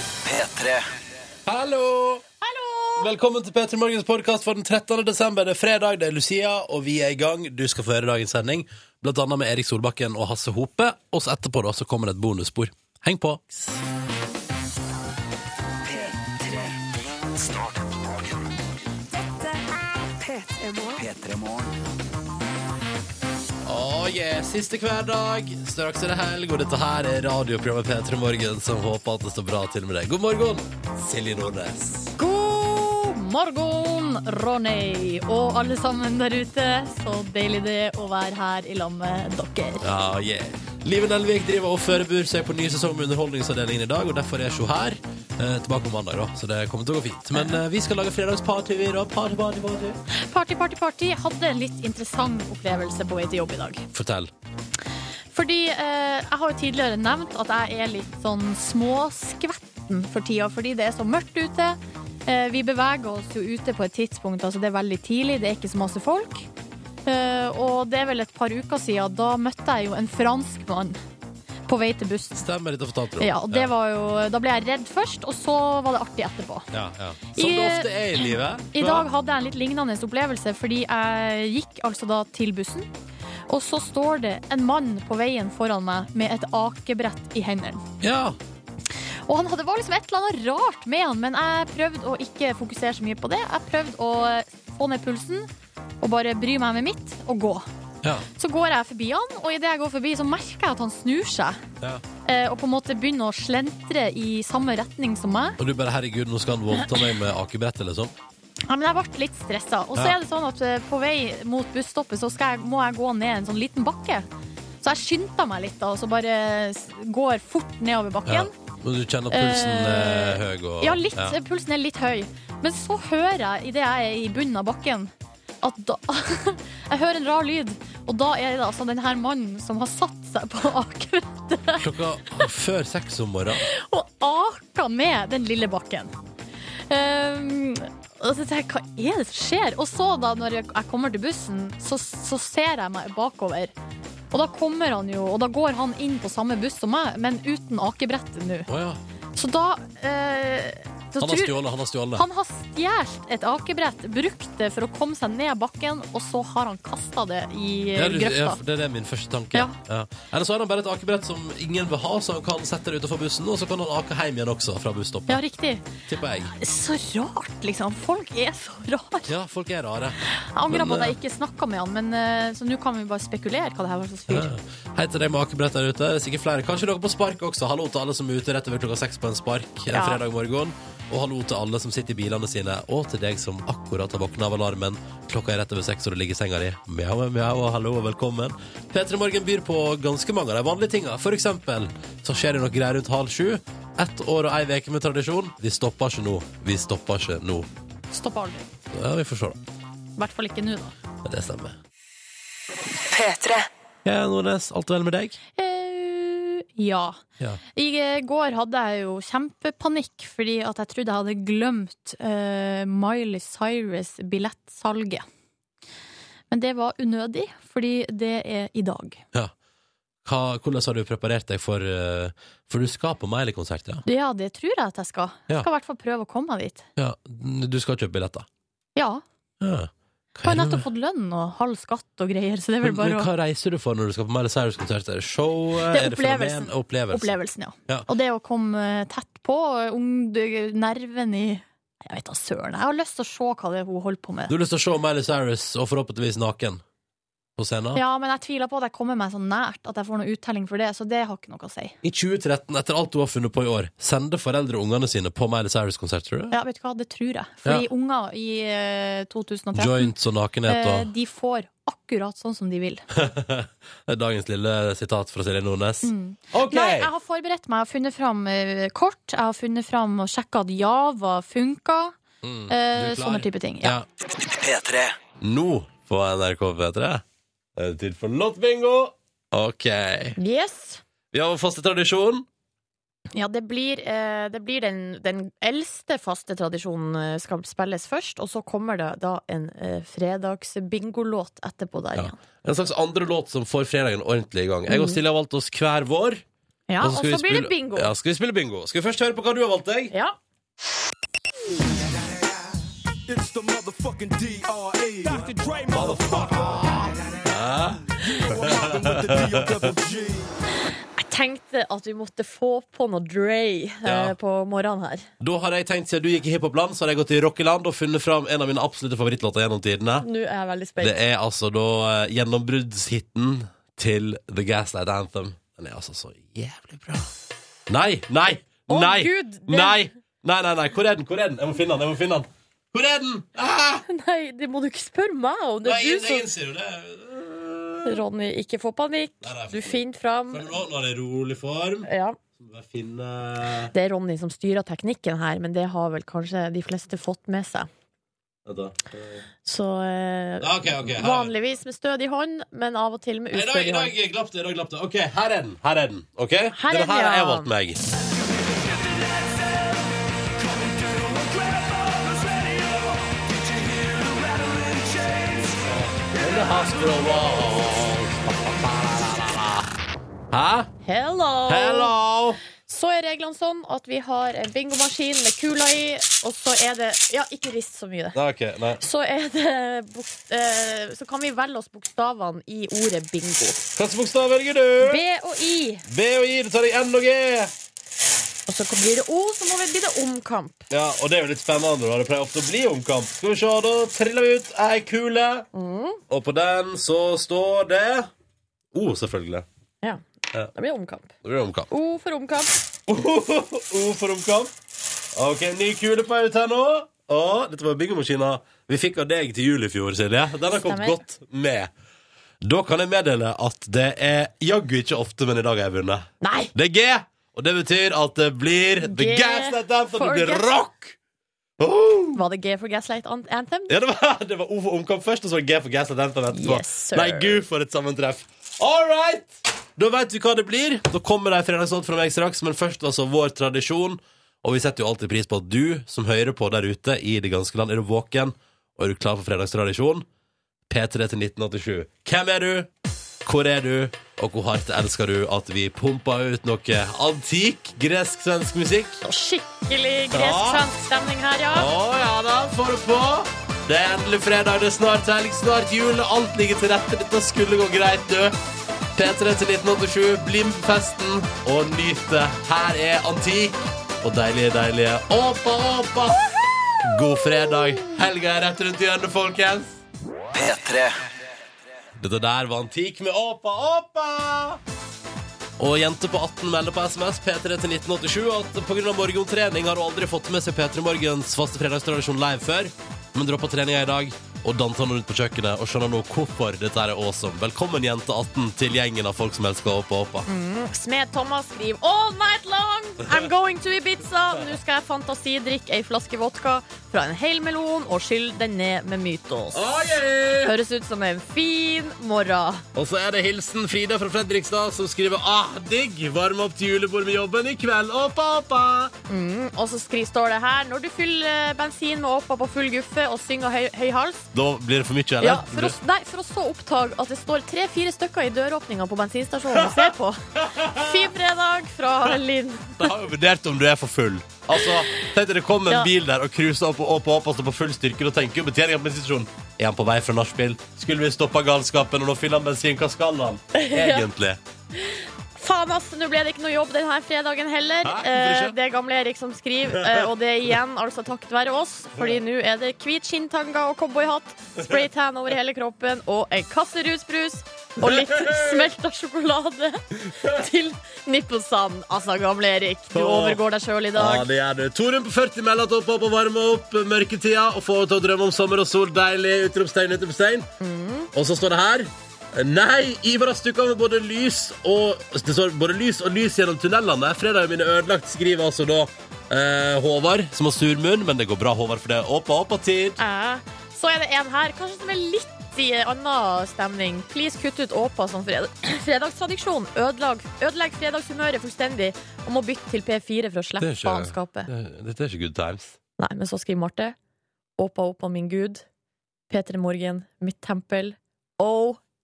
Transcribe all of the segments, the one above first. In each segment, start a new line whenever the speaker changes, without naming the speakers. P3.
Hallo! Velkommen til P3 Morgens podkast for den 13. desember. Det er fredag, det er Lucia, og vi er i gang. Du skal få høre dagens sending, blant annet med Erik Solbakken og Hasse Hope. Og så etterpå da, så kommer det et bonusspor. Heng på.
Start dagen. P3 Morgen.
Oh yeah, siste hverdag. Straks er det helg, og dette her er radioprogrammet P3 Morgen, som håper at det står bra til med deg. God morgen, Silje Nordnes.
God morgen, Ronny og alle sammen der ute. Så deilig det å være her i lag med dere.
Ja, yeah. Live Nelvik driver og forbereder seg på ny sesong med Underholdningsavdelingen i dag, og derfor er hun her. Eh, tilbake på mandag, da, så det kommer til å gå fint. Men eh, vi skal lage fredagsparty, vi, da. Party, party, party.
Party, party, party. Hadde en litt interessant opplevelse på vei til jobb i dag.
Fortell.
Fordi eh, jeg har jo tidligere nevnt at jeg er litt sånn småskvetten for tida, fordi det er så mørkt ute. Eh, vi beveger oss jo ute på et tidspunkt, altså det er veldig tidlig, det er ikke så masse folk. Eh, og det er vel et par uker siden, da møtte jeg jo en franskmann på vei til bussen.
Stemmer, dette fortalte du. om.
Ja, og det var jo, da ble jeg redd først, og så var det artig etterpå.
ja, ja. Som det
I-
ofte er i livet.
I dag hadde jeg en litt lignende opplevelse, fordi jeg gikk altså da til bussen. Og så står det en mann på veien foran meg med et akebrett i hendene.
Ja.
Og han hadde, det var liksom et eller annet rart med han, men jeg prøvde å ikke fokusere så mye på det. Jeg prøvde å få ned pulsen og bare bry meg med mitt og gå.
Ja.
Så går jeg forbi han, og idet jeg går forbi, så merker jeg at han snur seg.
ja.
eh, Og på en måte begynner å slentre i samme retning som meg.
Og du bare 'herregud, nå skal han voldta meg med akebrettet', liksom?
Ja, men jeg ble litt stressa. Og så
Ja.
er det sånn at eh, på vei mot busstoppet så skal jeg, må jeg gå ned en sånn liten bakke. Så jeg skynder meg litt da, og så bare s- går fort nedover
Ja.
bakken.
Men du kjenner at pulsen
Eh,
er høy? Og,
Ja, litt, Pulsen er litt høy. Men så hører jeg, idet jeg er i bunnen av bakken, at da Jeg hører en rar lyd, og da er det altså den her mannen som har satt seg på aker
Klokka før seks om morgenen.
og aka ned den lille bakken. Ehm, og så tenkte jeg, hva er det som skjer? Og så da, når jeg jeg kommer til bussen, så, så ser jeg meg bakover. Og da kommer han jo, og da går han inn på samme buss som meg, men uten akebrettet nå.
Å ja.
Så da eh, da
Han har
tror-
stjålet, han har stjålet.
Han har stjålet et akebrett, brukt det for å komme seg ned bakken, og så har han kasta det i eh,
Ja, du, ja,
grøfta.
for det er det min første tanke. Ja.
Ja.
Eller så har han bare et akebrett som ingen vil ha, så han kan sette det utenfor bussen, og så kan han ake hjem igjen også fra busstoppet,
Ja, riktig.
tipper jeg.
Så rart, liksom. Folk er så rare.
Ja, folk er rare.
Jeg angrer
Men,
på at
eh,
jeg ikke snakka med han, men eh, så nå kan vi bare spekulere hva det her var slags fyr.
Hei til deg med akebrett der ute. Det er sikkert flere. Kanskje noe på spark også. Hallo til alle som er ute rett over klokka seks på en spark en
Ja.
fredag morgen. Og hallo til alle som sitter i bilene sine, og til deg som akkurat har våkna av alarmen. Klokka er rett over seks, og du ligger i senga di. Mjau, mjau, og hallo og velkommen. P3 Morgen byr på ganske mange av de vanlige tinga. For eksempel så skjer det noe greier rundt halv sju. Ett år og ei uke med tradisjon. Vi stopper ikke nå. Vi stopper ikke nå.
Stoppa aldri.
Ja, vi får se, da.
I hvert fall ikke nå, da.
Men det stemmer. P3. Ja, Nordnes, alt vel med deg?
Eh, ja.
Ja.
I eh, går hadde jeg jo kjempepanikk fordi at jeg trodde jeg hadde glemt eh, Miley Cyrus-billettsalget. Men det var unødig, fordi det er i dag.
Ja. Hva, hvordan har du preparert deg for eh, For du skal på Miley-konsert, ja.
Ja, det tror jeg at jeg skal.
Ja.
Jeg skal i hvert fall prøve å komme meg dit.
ja? Du skal kjøpe billetter?
Ja.
Ja.
Jeg har jo nettopp fått lønn og halv skatt og greier, så det er
men,
vel
men
bare å
hva reiser du for når du skal på Miley Cyrus-konsert? Er det show?
Det er
fenomen?
opplevelsen.
Opplevelse.
Opplevelsen, ja.
Ja.
Og det å komme eh, tett på, eh, ung, du- nerven i Jeg vet da søren. Jeg har lyst til å se hva det er hun holder på med.
Du har lyst til å se Miley Cyrus, og forhåpentligvis naken, på scenen?
Ja, men jeg tviler på at jeg kommer meg så nært at jeg får noe uttelling for det, så det har ikke noe å si.
I 2013, etter alt du har funnet på i år, sender foreldre ungene sine på Miley Cyrus-konsert, tror du?
Ja, vet du hva, det tror jeg. Fordi unger i eh, 2013,
Joints og nakenhet
eh,
og
de får akkurat sånn som de vil.
Det er dagens lille sitat fra Silje Nordnes. OK!
Eh, mm. Nei, jeg har forberedt meg, jeg har funnet fram eh, kort, jeg har funnet fram og sjekka at Java funka.
Mm, du
Eh,
er klar?
sånne type ting. Ja.
Ja.
P3.
nå på NRK P3. Er det tid for låtbingo? OK.
Yes.
Vi har vår faste tradisjon.
Ja, det blir, eh, det blir den, den eldste faste tradisjonen eh, skal spilles først, og så kommer det da en eh, fredagsbingolåt etterpå der
Ja.
igjen.
En slags andre låt som får fredagen ordentlig i gang. Jeg og Silje har valgt oss hver vår.
Ja, og så
vi
blir det
spille-
bingo.
Ja, skal vi spille bingo. Skal vi først høre på hva du har valgt deg?
Ja.
It's the motherfucking E. DRE. Dr. Dre, motherfucker. with the D-O-double-G.
Jeg tenkte at vi måtte få på noe Dre eh,
Ja.
på morgenen her.
Da har jeg tenkt, Siden du gikk i hiphopland, så har jeg gått i rockeland og funnet fram en av mine absolutte favorittlåter gjennom tidene.
Nå er jeg veldig
Det
spent.
er altså da eh, gjennombruddshiten til The Gaslight Anthem. Den er altså så jævlig bra. Nei, nei, nei!
Å, Gud, det-
Nei, nei, nei, nei. Hvor er den? Hvor er den? Jeg må finne den. jeg må finne den Hvor er den? Ah!
Nei, det må du ikke spørre meg om. Det
Nei,
er
jeg,
du
jeg
som
innser jo det.
Ronny, ikke få panikk.
Nei, nei, jeg får
Du
ikke.
finner fram.
Men nå, nå er det rolig form.
Ja.
Så må jeg finne
Det er Ronny som styrer teknikken her, men det har vel kanskje de fleste fått med seg.
Vent da.
Så eh,
Ja, OK, OK. her er den.
vanligvis med stødig hånd, men av og til med
I dag,
ustødig
i
hånd.
dag glapp det. i dag glapp det OK, her er den. Her er den. ok?
er
den her
den,
har jeg
ja.
valgt meg. Denne har skrevet- Hæ?
Hello!
Hello!
Så er reglene sånn at vi har en bingomaskin med kula i, og så er det Ja, ikke rist så mye, det.
Nei, OK. Nei.
Så, er det bok- eh, så kan vi velge oss bokstavene i ordet bingo.
Hvilken bokstav velger du?
B og I.
B og I. Du tar deg N og G.
Og så blir det O, så må vi bli det omkamp.
Ja, og det er jo litt spennende. da. Det pleier ofte å bli omkamp. Skal vi se, da triller vi ut ei kule. Og på den så står det O, selvfølgelig.
Ja,
Ja.
det blir omkamp.
Det blir omkamp.
O for omkamp.
O for omkamp. OK, ny kule på vei ut her nå. Å, dette var bingomaskina vi fikk av deg til jul i fjor, Silje. Den har kommet
Stemmer.
godt med. Da kan jeg meddele at det er jaggu ikke ofte, men i dag har jeg vunnet.
Nei!
Det er G, og det betyr at det blir The
G
Gaslight Anthem. Det
for
blir
Gas-
rock! Oh!
Var det G for Gaslight An- Anthem?
Ja, det var, det var O for omkamp først, og så var det G for Gaslight Anthem etterpå.
Yes, sir.
Nei, gud, for et sammentreff. All right! Da vet vi hva det blir. Da kommer det en fredagslåt fra meg straks, men først altså vår tradisjon. Og vi setter jo alltid pris på at du som hører på der ute i det ganske land, er du våken, og er du klar for fredagstradisjon? P3 til 1987. Hvem er du? Hvor er du? Og hvor hardt elsker du at vi pumper ut noe antikk gresk-svensk musikk?
Og skikkelig
Ja.
gresk-svensk stemning her, ja.
Å ja da, får du på. Det er endelig fredag, det er snart helg, snart jul. og Alt ligger til rette. Dette skulle gå greit, du. P3 til 1987, bli med på festen og nyt det. Her er antikk og deilige, deilige Åpa, åpa. God fredag. Helga er rett rundt hjørnet, folkens.
P3
Dette der var antikk med Åpa Åpa! Og jente på 18 melder på SMS P3 til 1987 at pga. morgentrening har hun aldri fått med seg P3 Morgens faste fredagstradisjon live før, men droppa treninga i dag og dansa nå ut på kjøkkenet og skjønner nå hvorfor dette er awesome. Velkommen, jente 18, til gjengen av folk som elsker Åpa Åpa.
Mm. Smed Thomas skriver All night long, I'm going to Ibiza Nå skal jeg fantasidrikke ei flaske vodka Fra en hel melon og skylle den ned med mytos Høres ut som en fin morgen
Og så er det hilsen Frida fra Fredrikstad som skriver Ah, digg! Varme opp til julebord med jobben i kveld. Åpa Åpa!
Og så skri- står det her Når du fyller bensin med åpa på full guffe Og synger høy, høy hals
Da blir det for mye, eller?
ja, for, å, nei, for å så oppdage at det står tre-fire stykker i døråpninga på bensinstasjonen å se på. Fin fredag fra Linn.
Det har jo vurdert om du er for full. Altså, Tenk deg det kom en
Ja.
bil der og cruisa opp og opp og opp og står på full styrke. Da tenker jo betjeningen på bensinstasjonen Er han på vei fra nachspiel? Skulle vi stoppa galskapen, og nå fyller han bensin? Hva skal han? Egentlig.
Faen, ass! Nå ble det ikke noe jobb denne fredagen heller.
Hæ? Hvorfor
Eh,
ikke?
det er gamle Erik som skriver, eh, og det er igjen altså takket være oss. Fordi nå er det hvit skinntanga og cowboyhatt, spraytan over hele kroppen og en kasse rusbrus og litt smelta sjokolade til nippelsand. Altså, gamle Erik, du overgår deg sjøl i
Ja,
dag.
det gjør du. Torunn på 40 melder at opp, opp og varme opp mørketida og få henne til å drømme om sommer og sol. Deilig. Utropstegn, utropstegn. Og så står det her Nei, Ivar har stukket av med både lys og Det står både lys og lys gjennom tunnelene. Fredagen min er ødelagt, skriver altså da eh, Håvard, som har sur munn. Men det går bra, Håvard, for det er opp og opp av tid.
Ja. Eh, Så er det en her, kanskje som er litt i annen stemning. Please kutt ut Åpa som fred fredagstradisjon. Ødelag, ødelegg fredagshumøret fullstendig og må bytte til P4 for å slippe
Det er ikke-
faenskapet.
Dette er ikke good times.
Nei, men så skriver Marte. Åpa, Åpa, min gud. P3 Morgen, mitt tempel.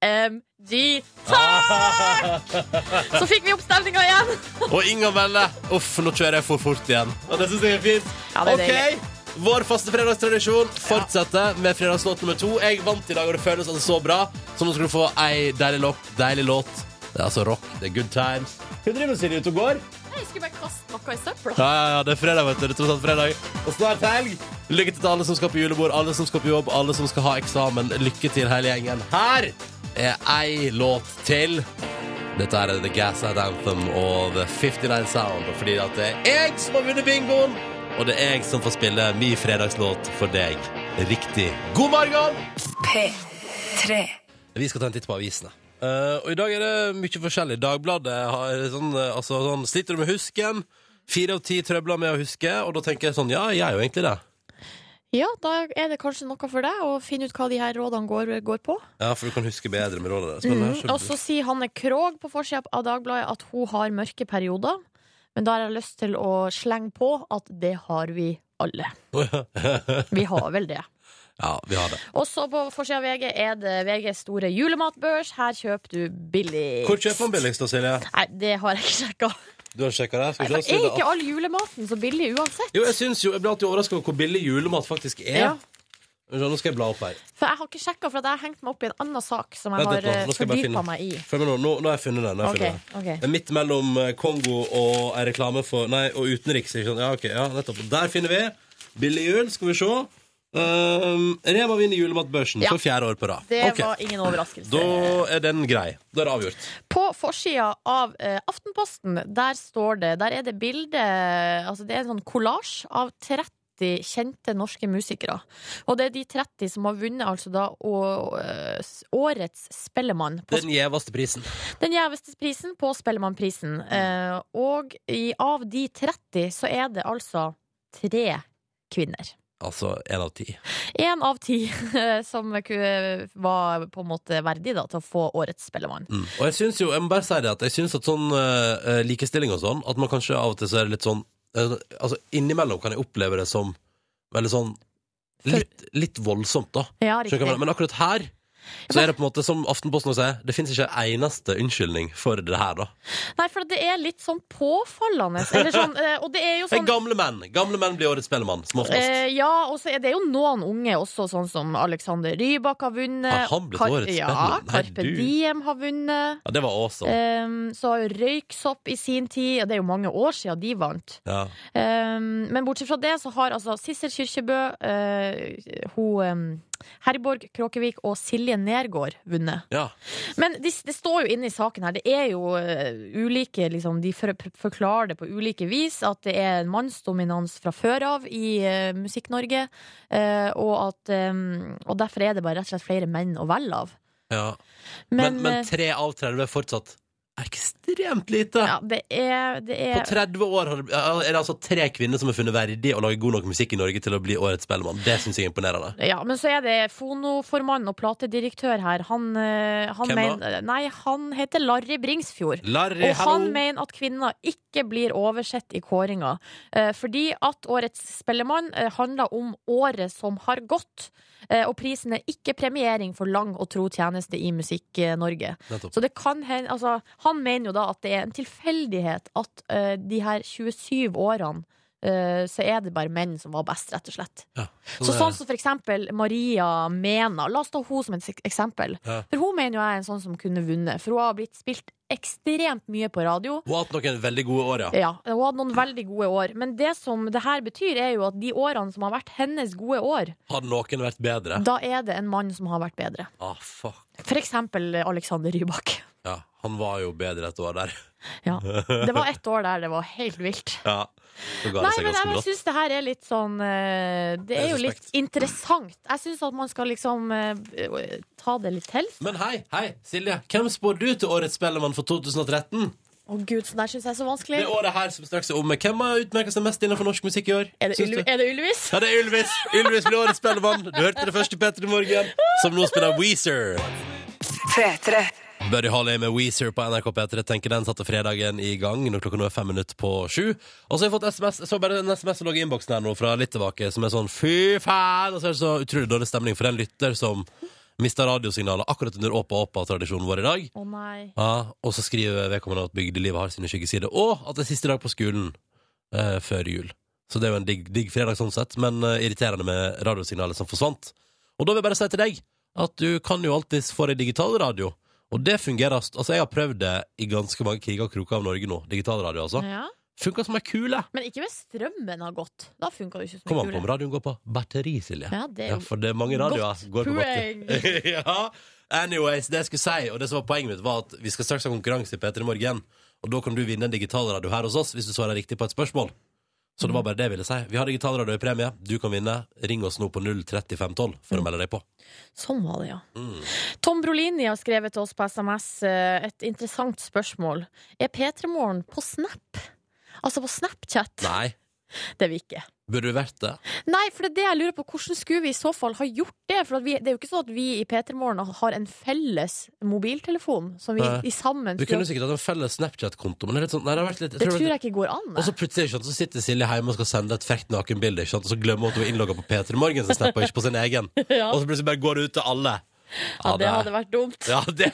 OMG!
Ah!
Takk! Så fikk vi opp stemninga igjen.
Og Inga melder Uff, nå kjører jeg for fort igjen. Og det synes jeg er fint.
Ja, det er
OK, Vår faste fredagstradisjon fortsetter med fredagslåt nummer to. Jeg vant i dag, og det føles altså så bra. Så nå skal du få ei deilig, låt- deilig låt. Det er altså rock. Det er good times. Hva driver du Silje, ute og går?
Jeg skulle bare kaste noe i søpla.
Ja, ja, ja, det er fredag, vet du. Det er tross alt fredag. Og snart helg. Lykke til til alle som skal på julebord, alle som skal på jobb, alle som skal ha eksamen. Lykke til, hele gjengen. Her er ei låt til. Dette er The Gaslight Anthem og The 59 Sound. Fordi at det er jeg som har vunnet bingoen, og det er jeg som får spille min fredagslåt for deg. Riktig god morgen!
P3.
Vi skal ta en titt på avisene. Eh, og i dag er det mye forskjellig. Dagbladet har sånn, eh, altså, sånn Sliter du med husken? Fire av ti trøbler med å huske, og da tenker jeg sånn Ja, jeg er jo egentlig det.
Ja, da er det kanskje noe for deg å finne ut hva de her rådene går, går på.
Ja, for du kan huske bedre med rådet deres. Men det er så-
Mm, Og så sier Hanne Krogh på forsida av Dagbladet at hun har mørke perioder. Men da har jeg lyst til å slenge på at det har vi alle. Vi har vel det.
Ja, vi har det.
Og så på forsida av VG er det VGs store julematbørs. Her kjøper du billig.
Hvor kjøper man billigst da, Silje?
Nei, det har jeg ikke sjekka.
Du har sjekka det? Skal vi
Er
se, Silje?
ikke all julematen så billig uansett?
Jo, jeg syns jo Jeg ble alltid overraska over hvor billig julemat faktisk er.
Ja.
Ja. Nå skal jeg bla opp her.
For jeg har ikke sjekka, for at jeg har hengt meg opp i en annen sak som jeg
Vent litt
har
nå, nå skal jeg bare
fordypa
finne-
meg i.
Følg med nå. Nå, nå har jeg funnet den. Nå har jeg
Ok,
funnet den.
ok.
Det er midt mellom eh, Kongo og en reklame for Nei, og utenriks. Ikke sant? Ja, ok, ja, nettopp. Der finner vi. Billig jul, skal vi se. Um, Rema vinner julematbørsen
Ja.
for fjerde år på rad.
Det
Ok,
var ingen overraskelse.
Da er den grei. Da er det avgjort.
På forsida av eh, Aftenposten, der står det Der er det bilde Altså, det er en sånn kollasj av 30 Kjente norske musikere. Og det er de 30 som har vunnet altså da å- eh, s- årets Spellemann. På,
Den gjeveste prisen.
den gjeveste prisen på Spellemannprisen. Eh, og i, av de 30 så er det altså tre kvinner.
Altså én av ti.
Én av ti som ku- var på en måte verdig da, til å få årets Spellemann.
Mm. Og jeg syns jo, jeg må bare si det, at jeg syns at sånn eh, likestilling og sånn, at man kanskje av og til så er det litt sånn eh, Altså innimellom kan jeg oppleve det som veldig sånn litt, litt voldsomt, da.
Ja,
Skjønner hva jeg mener? Men akkurat her så er det på en måte som Aftenposten også sier, det fins ikke en eneste unnskyldning for det her, da.
Nei, for det er litt sånn påfallende. Eller sånn, eh, og det er jo
Eh,
sånn
Gamle menn gamle menn blir årets spellemann, som oftest.
eh, ja, og så er det jo noen unge også, sånn som Alexander Rybak har vunnet.
Har han blitt
Kar-
årets
Ja,
spellemann? Nei,
Carpe
du.
Diem har vunnet.
Ja, det var awesome.
Um, så har jo Røyksopp i sin tid, og det er jo mange år siden de vant.
Ja.
Um, men bortsett fra det så har altså Sissel Kyrkjebø, eh, hun um, Herborg Kråkevik og Silje Nergård vunnet.
ja.
Men det, det står jo inne i saken her, det er jo eh, ulike liksom, De for, for- forklarer det på ulike vis, at det er en mannsdominans fra før av i eh, Musikk-Norge, eh, og at eh, Og derfor er det bare rett og slett flere menn å velge av.
ja. Men,
Men,
men
eh,
3 av 30 er fortsatt ekstremt lite.
ja, det er, det
På
er
30 år har det, er det altså tre kvinner som er funnet verdig å lage god nok musikk i Norge til å bli årets spellemann. Det syns jeg er imponerende.
ja, men så er det fonoformann og platedirektør her. Han, eh, han
Hvem da?
mener Nei, han heter Larry Bringsfjord.
Larry,
Og han
hallo.
mener at kvinner ikke blir oversett i kåringa. eh, Fordi at årets Spellemann eh, handler om året som har gått. eh, Og prisen er ikke premiering for lang og tro tjeneste i Musikk-Norge.
Nettopp.
Så det kan hende altså, Han mener jo da at det er en tilfeldighet at eh, de her 27 årene eh, så er det bare menn som var best, rett og slett.
Ja,
Så sånn som for eksempel Maria Mena. La oss ta hun som et ek- eksempel.
Ja.
For hun mener jo jeg er en sånn som kunne vunnet. For hun har blitt spilt ekstremt mye på radio.
Hun har hatt noen veldig gode år, ja.
Ja, Hun hadde noen veldig gode år. Men det som det her betyr, er jo at de årene som har vært hennes gode år,
Hadde noen vært bedre?
da er det en mann som har vært bedre.
Ah, fuck.
For eksempel Alexander Rybak.
Ja, han var jo bedre et år der.
Ja. Det var ett år der det var helt vilt.
Ja. Så ga
Nei,
det seg
men
ganske
jeg
brått.
syns det her er litt sånn eh, Det er jo litt
Respekt.
interessant. Jeg syns at man skal liksom eh, ta det litt til
Men hei, hei, Silje. Hvem spår du til årets spellemann for 2013?
Å gud, sånn der syns jeg er så vanskelig.
Det året her som straks er omme. Hvem har utmerket seg mest innenfor norsk musikk i år?
Er det,
Syns du?
Ylvi- er det Ylvis?
Ja, det er Ylvis. Ylvis blir årets spellemann. Du hørte det først i Petter i morgen, som nå spiller Weezer.
P3.
Buddy Holly med Weezer på NRK P3 Tenker den satte fredagen i gang Når klokka nå er fem minutter på sju Og så har jeg fått SMS Så bare en SMS som lå i innboksen her nå Fra litt tilbake Som er sånn Fy faen Og så er det så utrolig dårlig stemning For den lytter som mistet radiosignalet Akkurat under Åpa Åpa tradisjonen vår i dag
Å nei.
ja, Og så skriver vedkommende at bygdelivet har sine skyggesider Og at det er siste dag på skolen eh, Før jul Så det er jo en digg, digg fredag sånn sett, men eh, irriterende med radiosignalet som forsvant. Og da vil jeg bare si til deg at du kan jo alltids få deg digital radio. Og det fungerer st- Altså, jeg har prøvd det i ganske mange kriger og kroker av Norge nå. Digital radio, altså.
Ja.
Funker som ei kule!
Men ikke hvis strømmen har gått. Da funka det ikke som
Kom
en
an på om
kule.
radioen går på batteri, Silje.
Ja, det er
Ja,
jo
for det er mange radioer
Godt
som går på
poeng.
batteri. ja. Anyways, det jeg skulle si, og det som var poenget mitt, var at vi skal straks ha konkurranse i P3 Morgen. Og da kan du vinne en digitalradio her hos oss hvis du svarer riktig på et spørsmål. Så det var bare det jeg ville si. Vi har digitalradio i premie. Du kan vinne. Ring oss nå på 03512 for å melde deg på.
Sånn var det, ja.
Mm.
Tom Brolini har skrevet til oss på SMS eh, et interessant spørsmål. Er P3 Morgen på Snap? Altså på Snapchat?
Nei,
Det er vi ikke.
burde du vært det?
Nei, for det er det jeg lurer på. Hvordan skulle vi i så fall ha gjort det? For at vi, det er jo ikke sånn at vi i P3 Morgen har en felles mobiltelefon som vi
Nei.
i sammen
Vi kunne sikkert hatt en felles Snapchat-konto, men det er litt sånn Nei, det har vært litt
Det tror jeg ikke går an.
Og så plutselig ikke sant, så sitter Silje hjemme og skal sende et frekt nakenbilde, ikke sant, og så glemmer hun at hun er innlogga på P3 Morgen, så snapper hun ikke på sin egen.
Ja.
Og så plutselig bare går det ut til alle.
Ja, det hadde vært dumt.
ja, det,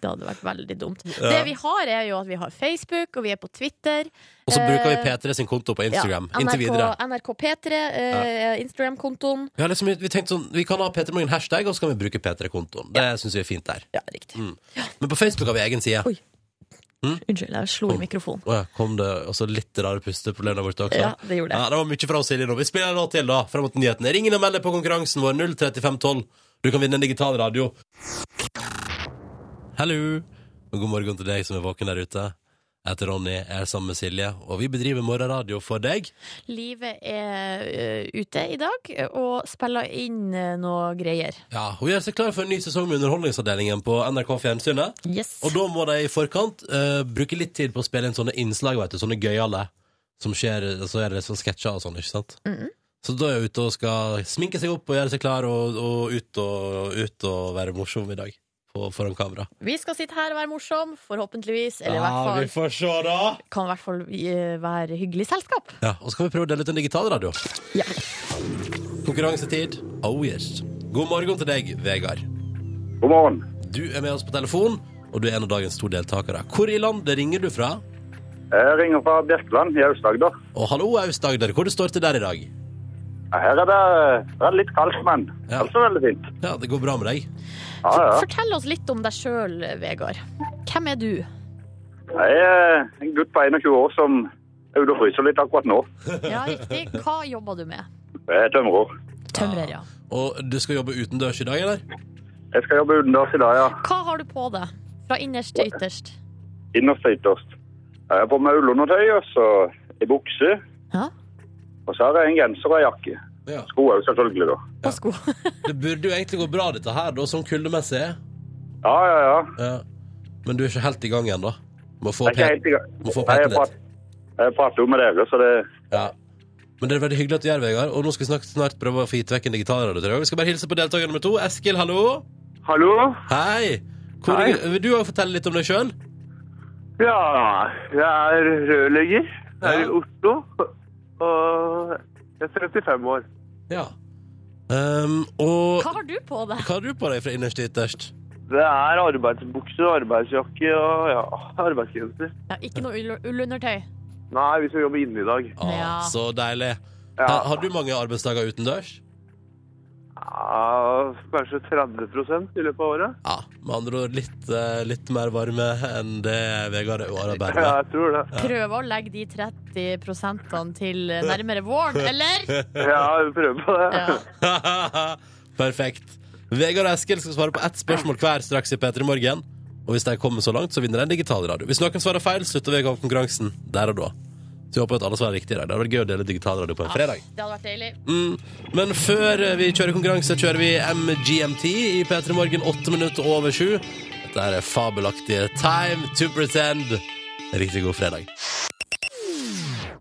Det hadde vært veldig dumt. Det vi har, er jo at vi har Facebook, og vi er på Twitter.
Og så bruker vi
Eh,
P3 E sin konto på Instagram.
Ja,
Inntil
NRK
videre.
NRK P3, eh, Instagram-kontoen.
Vi, har liksom, vi tenkte sånn, vi kan ha P3 Morgen hashtag, og så kan vi bruke P3-kontoen. E Det synes syns vi er fint der.
Ja, riktig.
Mm. Men på Facebook har vi egen side.
Oi. Unnskyld, jeg
Mm.
slo i mikrofonen.
Åja, kom det også litt rare pusteproblemer borte også?
Ja, det gjorde det.
Ja, det var mye fra oss, Silje nå. Vi spiller en låt til, da, fram mot nyhetene. Ring inn og meld deg på konkurransen vår 03512. Du kan vinne en digital radio. Hallo. Og god morgen til deg som er våken der ute. Jeg heter Ronny, jeg er sammen med Silje, og vi bedriver morgenradio for deg.
Livet er eh, ute i dag og spiller inn eh, noe greier.
Ja, Hun gjør seg klar for en ny sesong med Underholdningsavdelingen på NRK Fjernsynet.
Yes.
Og da må de i forkant eh, bruke litt tid på å spille inn sånne innslag, vet du, sånne gøyale. Som skjer, så er det sånn sketsjer og sånn, ikke sant? Så da er jeg ute og skal sminke seg opp og gjøre seg klar og, og, ut, og ut og være morsom i dag. På, foran kamera.
Vi skal sitte her og være morsom, forhåpentligvis. Eller i hvert fall
får se, da!
kan i hvert fall eh, være hyggelig selskap.
Ja, Og så kan vi prøve å dele ut en digital radio.
Ja.
Konkurransetid. Oh yes. God morgen til deg, Vegard.
God morgen.
Du er med oss på telefon, og du er en av dagens to deltakere. Hvor i landet ringer du fra?
Jeg ringer fra Birkeland i Aust-Agder.
Og hallo, Aust-Agder, hvor det står til der i dag?
Ja, Her er det, her er det litt kaldt, men
Ja.
altså veldig fint.
Ja, det går bra med deg.
Ja, ja.
Fortell oss litt om deg sjøl, Vegard. Hvem er du?
Jeg er en gutt på 21 år som er ute og fryser litt akkurat nå.
Ja, riktig. Hva jobber du med?
Jeg er tømrer.
Tømrer, ja.
Og du skal jobbe utendørs i dag, eller?
Jeg skal jobbe utendørs i dag, ja.
Hva har du på deg? Fra innerst til ytterst.
Innerst og ytterst. Jeg har på meg ullundertøy og så ei bukse.
Ja.
Og så har jeg en genser og ei jakke.
Ja.
Sko òg, selvfølgelig, da.
Og sko.
Det burde jo egentlig gå bra, dette her, da, sånn kuldemessig.
Ja, ja, ja.
Ja. Men du er ikke helt i gang ennå. Må få
Jeg er ikke
pet-
helt i gang.
må få
Nei,
peten
Jeg
litt.
prater, jeg prater jo med dere, så det
Ja. Men det er veldig hyggelig at du gjør Vegard. Og nå skal vi snart, snart prøve å få gitt vekk en digital radio. tror jeg. Vi skal bare hilse på deltaker nummer to. Eskil, hallo.
Hallo?
Hei. Hvor,
Hei.
Vil du også fortelle litt om deg sjøl?
Ja, jeg er rørlegger
her i Ja.
Oslo. Og jeg er 35 år.
Ja. Um, og
Hva har du på deg?
hva har du på deg fra innerst til ytterst?
Det er arbeidsbukse, arbeidsjakke og ja, arbeidsgenser.
Ja, ikke noe ull- ullundertøy.
Nei, vi skal jobbe inne i dag.
Ah,
Ja.
Så deilig.
Ja.
Har, har du mange arbeidsdager utendørs?
Ja, kanskje 30 i løpet av året.
Ja, med andre ord litt, eh, litt mer varme enn det Vegard arbeider
Ja,
med.
jeg tror det.
Prøve å legge de 30 til nærmere våren, eller?
Ja, vi prøver på det.
Ja.
Perfekt. Vegard og Eskil skal svare på ett spørsmål hver straks i P3 Morgen. Og hvis de kommer så langt, så vinner de en digital radio. Hvis noen svarer feil, slutter Vegard konkurransen der og da. Så jeg håper at alle svarer riktig i dag. Det hadde vært gøy å dele digital radio på en fredag.
Det hadde vært deilig.
Mm. Men før vi kjører konkurranse, kjører vi MGMT i P3 Morgen åtte minutter over sju. Dette er fabelaktige Time to Pretend. Riktig god fredag.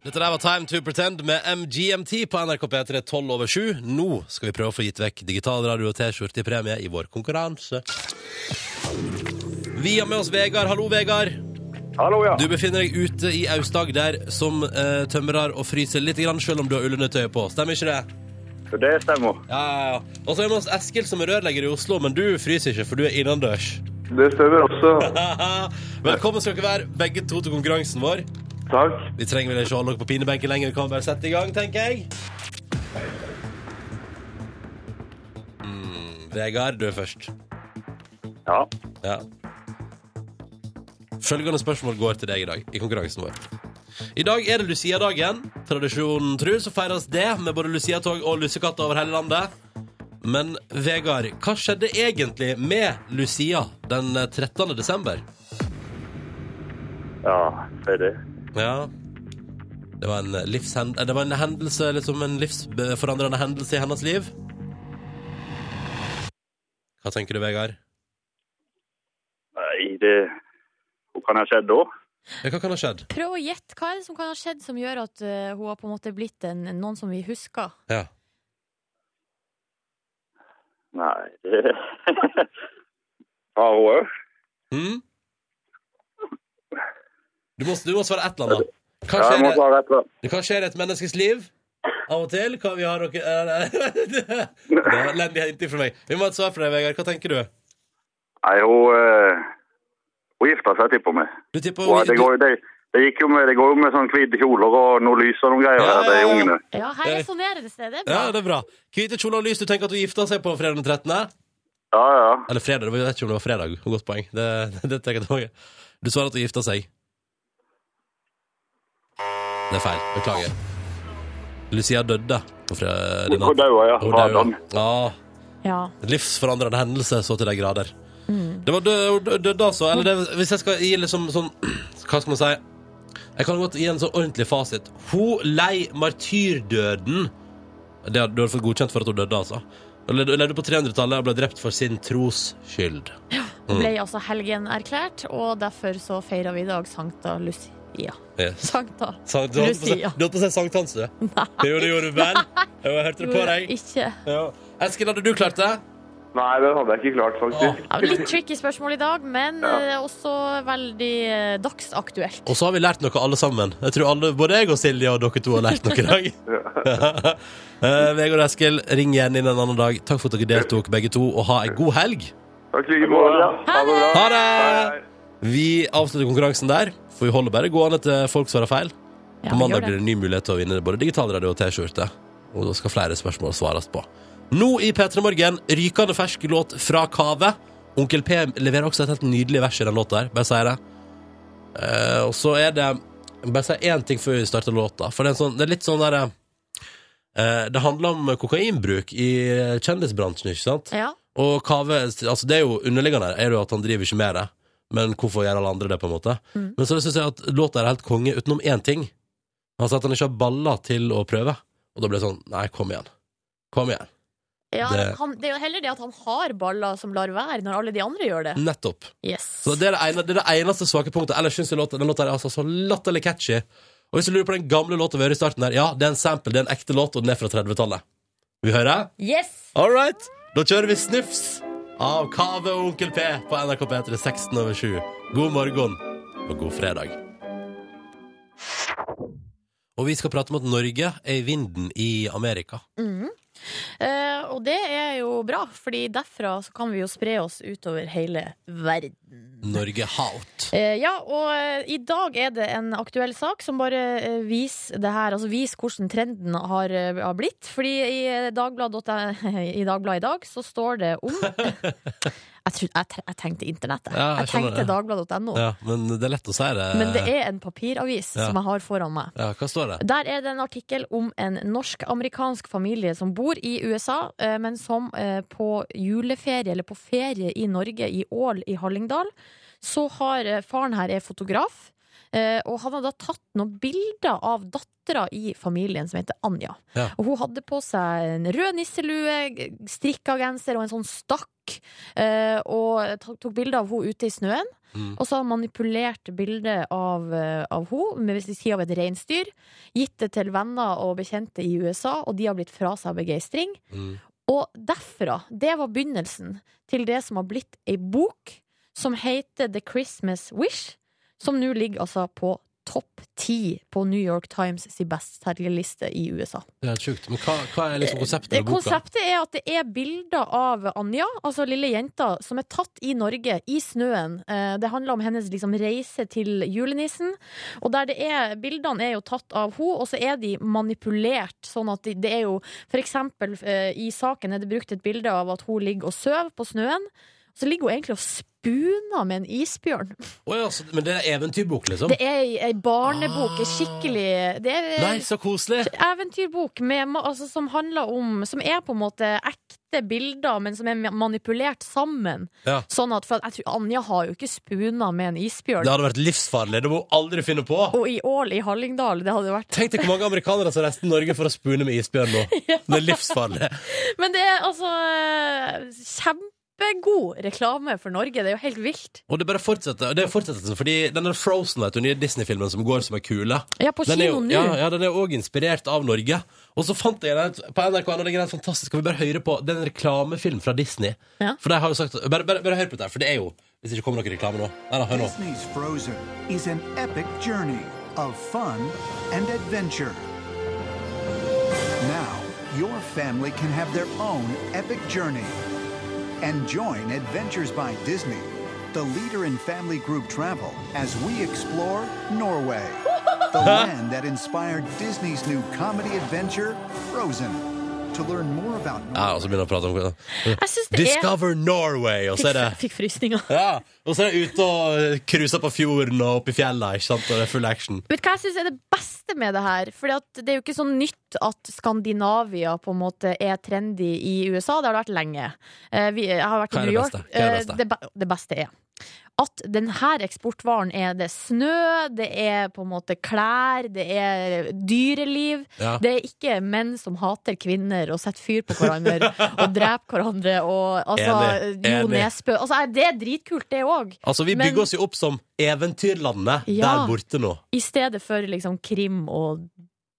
Dette der var Time to Pretend med MGMT på NRK P3 12 over 7. Nå skal vi prøve å få gitt vekk digital radio og T-skjorte i premie i vår konkurranse. Vi har med oss Vegard. Hallo, Vegard.
Hallo, ja.
Du befinner deg ute i Aust-Agder som eh, tømrer og fryser litt, grann, selv om du har ullundertøyet på. Stemmer ikke det?
Det stemmer.
Ja, ja, ja. Og så er det oss Eskil som er rørlegger i Oslo, men du fryser ikke, for du er innendørs.
Det stemmer også.
Velkommen skal dere være, begge to til konkurransen vår.
Takk.
Vi trenger vel ikke holde dere på pinebenken lenger, vi kan bare sette i gang, tenker jeg. Mm, Vegard, du er først.
Ja.
Ja. Følgende spørsmål går til deg i dag, i konkurransen vår. I dag er det Lucia-dagen. Tradisjonen tru så feires det med både Lucia-tog og lussekatter over hele landet. Men Vegard, hva skjedde egentlig med Lucia den 13. desember?
Ja, si det.
Ja. Det var en, livshend eh, det var en hendelse, liksom en livsforandrende hendelse i hennes liv. Hva tenker du, Vegard?
Nei, det Hva kan ha skjedd da?
Ja, hva kan ha skjedd?
Prøv å gjette. Hva er det som kan ha skjedd som gjør at eh, hun har på en måte blitt en, noen som vi husker?
Ja.
Nei, det Har hun òg?
Hm? Du, må, du må svare et eller annet. Hva
Ja, jeg
skjer,
må
i-
svare etter.
hva skjer i et menneskes liv? Av og til? Hva vi har noe eh, Det var elendig hint fra meg. Vi må ha et svar fra deg, Vegard. Hva tenker du?
Nei, hun eh, Hun gifta seg, tipper vi.
Du tipper
Ja, det, går, det, det, gikk jo med, det går jo med sånn hvite kjoler og noe lys og noen greier
Ja,
her, de
ja, ja.
ungene.
Ja, her
Eh.
resonnerer det seg. Det er bra.
Ja, det er bra. Hvite kjoler og lys. Du tenker at hun gifta seg på fredag den 13.?
Ja, ja.
Eller fredag, det var- jeg vet ikke om det var fredag. Godt poeng. Det, det tenker jeg tilbake. Du svarer at du gifta seg. Det er feil. Beklager. Lucia døde på fredag.
Hun hun daua, ja.
Hun
Fader.
døde. Ja.
Ja.
Livsforandrende hendelse så til de grader.
Mm.
Det var død, hun dø- døde, altså. Eller det, hvis jeg skal gi liksom sånn Hva skal man si? Jeg kan godt gi en sånn ordentlig fasit. Hun lei martyrdøden. Det, har- du har fått godkjent for at hun døde, altså. Hun levde- hun levde på 300-tallet og ble drept for sin tros skyld.
Hun ble altså helgen erklært, og derfor så feirer vi i dag Sankta Lucia.
Yes.
Sankta
Sankt- Du holdt på å si-
Lucia.
du holdt på å si sankthans, du. Jo, det gjorde du vel. Jo, Jeg hørte det på deg.
Ikke.
Ja. Eskil, hadde du klart det?
Nei, den hadde jeg ikke klart, faktisk.
Ja, litt tricky spørsmål i dag, men eh, også veldig eh, dagsaktuelt.
Og så har vi lært noe, alle sammen. Jeg tror alle, Både jeg og Silje og dere to har lært noe i dag. Eh, Vegard og Eskil, ring igjen inn en annen dag. Takk for at dere deltok, begge to, og ha ei god helg.
Takk i like måte. Ha det bra.
Ha det! Vi avslutter konkurransen der, for vi holder bare gående til folk svarer feil.
Ja,
På
vi
mandag
gjør
blir det en ny mulighet til å vinne både digitalradio og T-skjorte. Og da skal flere spørsmål svares på. Nå i P3 Morgen, rykende fersk låt fra Kave. Onkel P leverer også et helt nydelig vers i den låta her. Bare sier det. Eh, og så er det Bare si én ting før vi starter låta. For det er, en sånn, det er litt sånn derre eh, Det handler om kokainbruk i kjendisbransjen, ikke sant?
Ja.
Og Kaveh, altså det er jo underliggende her, er jo at han driver ikke med det. Men hvorfor gjør alle andre det, på en måte? Men så syns jeg at låta er helt konge utenom én ting. Altså at han ikke har baller til å prøve. Og da ble det sånn Nei, kom igjen. Kom igjen.
Ja,
Det-
han, det er jo heller det at han har baller som lar være, når alle de andre gjør det.
Nettopp.
Yes.
Mm. Så det er det, ene, det, er det eneste svake punktet. Ellers syns jeg låta, den låta er altså så latterlig catchy. Og hvis du lurer på den gamle låta vi hører i starten der, ja, det er en sample, det er en ekte låt, og den er fra 30-tallet. Vi hører?
Yes!
All right, da kjører vi Snufs av Kave og Onkel P på NRK P3 16 over 7. God morgen og god fredag. Og vi skal prate om at Norge er i vinden i Amerika.
Eh, og det er jo bra, fordi derfra så kan vi jo spre oss utover hele verden.
Norge haut.
Eh, ja, og eh, i dag er det en aktuell sak som bare eh, viser det her, altså viser hvordan trenden har, eh, har blitt. Fordi i eh, Dagbladet i Dagbladet i dag så står det om Jeg, tror, jeg, te- jeg tenkte internettet.
Ja, jeg
jeg
skjønner
tenkte
det.
Dagbladet.no.
Ja, men det er lett å si det.
Men det er en papiravis
Ja.
som jeg har foran meg.
Ja, hva står det?
Der er det en artikkel om en norsk-amerikansk familie som bor i USA, eh, men som eh, på juleferie, eller på ferie i Norge, i Ål i Hallingdal, så har eh, faren her er fotograf, eh, og han har da tatt noen bilder av dattera i familien som heter Anja.
Ja.
Og hun hadde på seg en rød nisselue, g- strikka genser og en sånn stakk, eh, og ta- tok bilder av henne ute i snøen.
Mm.
Og så har han manipulert bildet av, eh, av henne, med- hvis vi sier av et reinsdyr, gitt det til venner og bekjente i USA, og de har blitt fra seg av begeistring.
Mm.
Og derfra, det var begynnelsen til det som har blitt ei bok som heter The Christmas Wish, som nå ligger altså på topp ti på New York Times sin bestselgerliste i USA.
Det er helt sjukt. Men hva, hva er liksom konseptet
Det
med boka?
konseptet er at det er bilder av Anja, altså lille jenta, som er tatt i Norge, i snøen. Eh, Det handler om hennes liksom, reise til julenissen. Og der det er, Bildene er jo tatt av henne, og så er de manipulert. Sånn at de, det er jo For eksempel eh, i saken er det brukt et bilde av at hun ligger og sover på snøen. Så ligger hun egentlig og spuner med en isbjørn.
Å ja, så, men det er eventyrbok, liksom?
Det er ei- ei barnebok. ei Skikkelig det er,
Nei, så koselig!
eventyrbok med, ma- altså, som handler om Som er på en måte ekte bilder, men som er ma- manipulert sammen.
Ja.
Sånn at, for at jeg tror Anja har jo ikke spuna med en isbjørn.
Det hadde vært livsfarlig. Det må hun aldri finne på!
Og i Ål i Hallingdal, det hadde jo vært
Tenk deg hvor mange amerikanere som reiste til Norge for å spune med isbjørn nå. Det er livsfarlig.
Men det er altså eh, kjempegod reklame for Norge. Det er jo helt vilt.
Og det bare fortsetter. og Det er fortsettelsen, fordi den der Frozen, vet du, den nye Disney-filmen som går som en kule
Ja, på
den er
kino
jo-
nå.
ja, ja, den er òg inspirert av Norge. Og så fant jeg den ut på NRK, og det er helt fantastisk. Skal vi bare høre på den reklamefilm fra Disney?
Ja.
For de har jo sagt Bare, bare, bare hør på dette, her, for det er jo Hvis det ikke kommer noen reklame nå. Nei, nei, hør nå.
Disney's Frozen is an epic journey of fun and adventure. Now, your family can have their own epic journey and join Adventures by Disney, the leader in family group travel, as we explore Norway, the land that inspired Disney's new comedy adventure, Frozen. To learn more about
Ja, og så begynner han å prate om
Jeg syns det er
Discover Norway, og så er det
Fikk, fikk frysninger.
ja, og så er det ute og cruiser på fjorden og opp i fjella, ikke sant? Og det er full action.
Vet du hva jeg synes er det beste med det her? Fordi at det er jo ikke sånn nytt at Skandinavia på en måte er trendy i USA. Det har det vært lenge. Eh, Vi, jeg har vært
Hva
i
er
New
det
York.
beste? Hva er det
Eh,
beste?
Det, be- det beste er at denne eksportvaren er det er snø, det er på en måte klær, det er dyreliv.
Ja.
Det er ikke menn som hater kvinner og setter fyr på hverandre og dreper hverandre. Og, altså,
Enig,
Jo
enig.
Nesbø. Altså, det er dritkult, det òg.
Altså, vi
Men-
bygger oss jo opp som eventyrlandet
Ja.
der borte nå.
I stedet for liksom krim og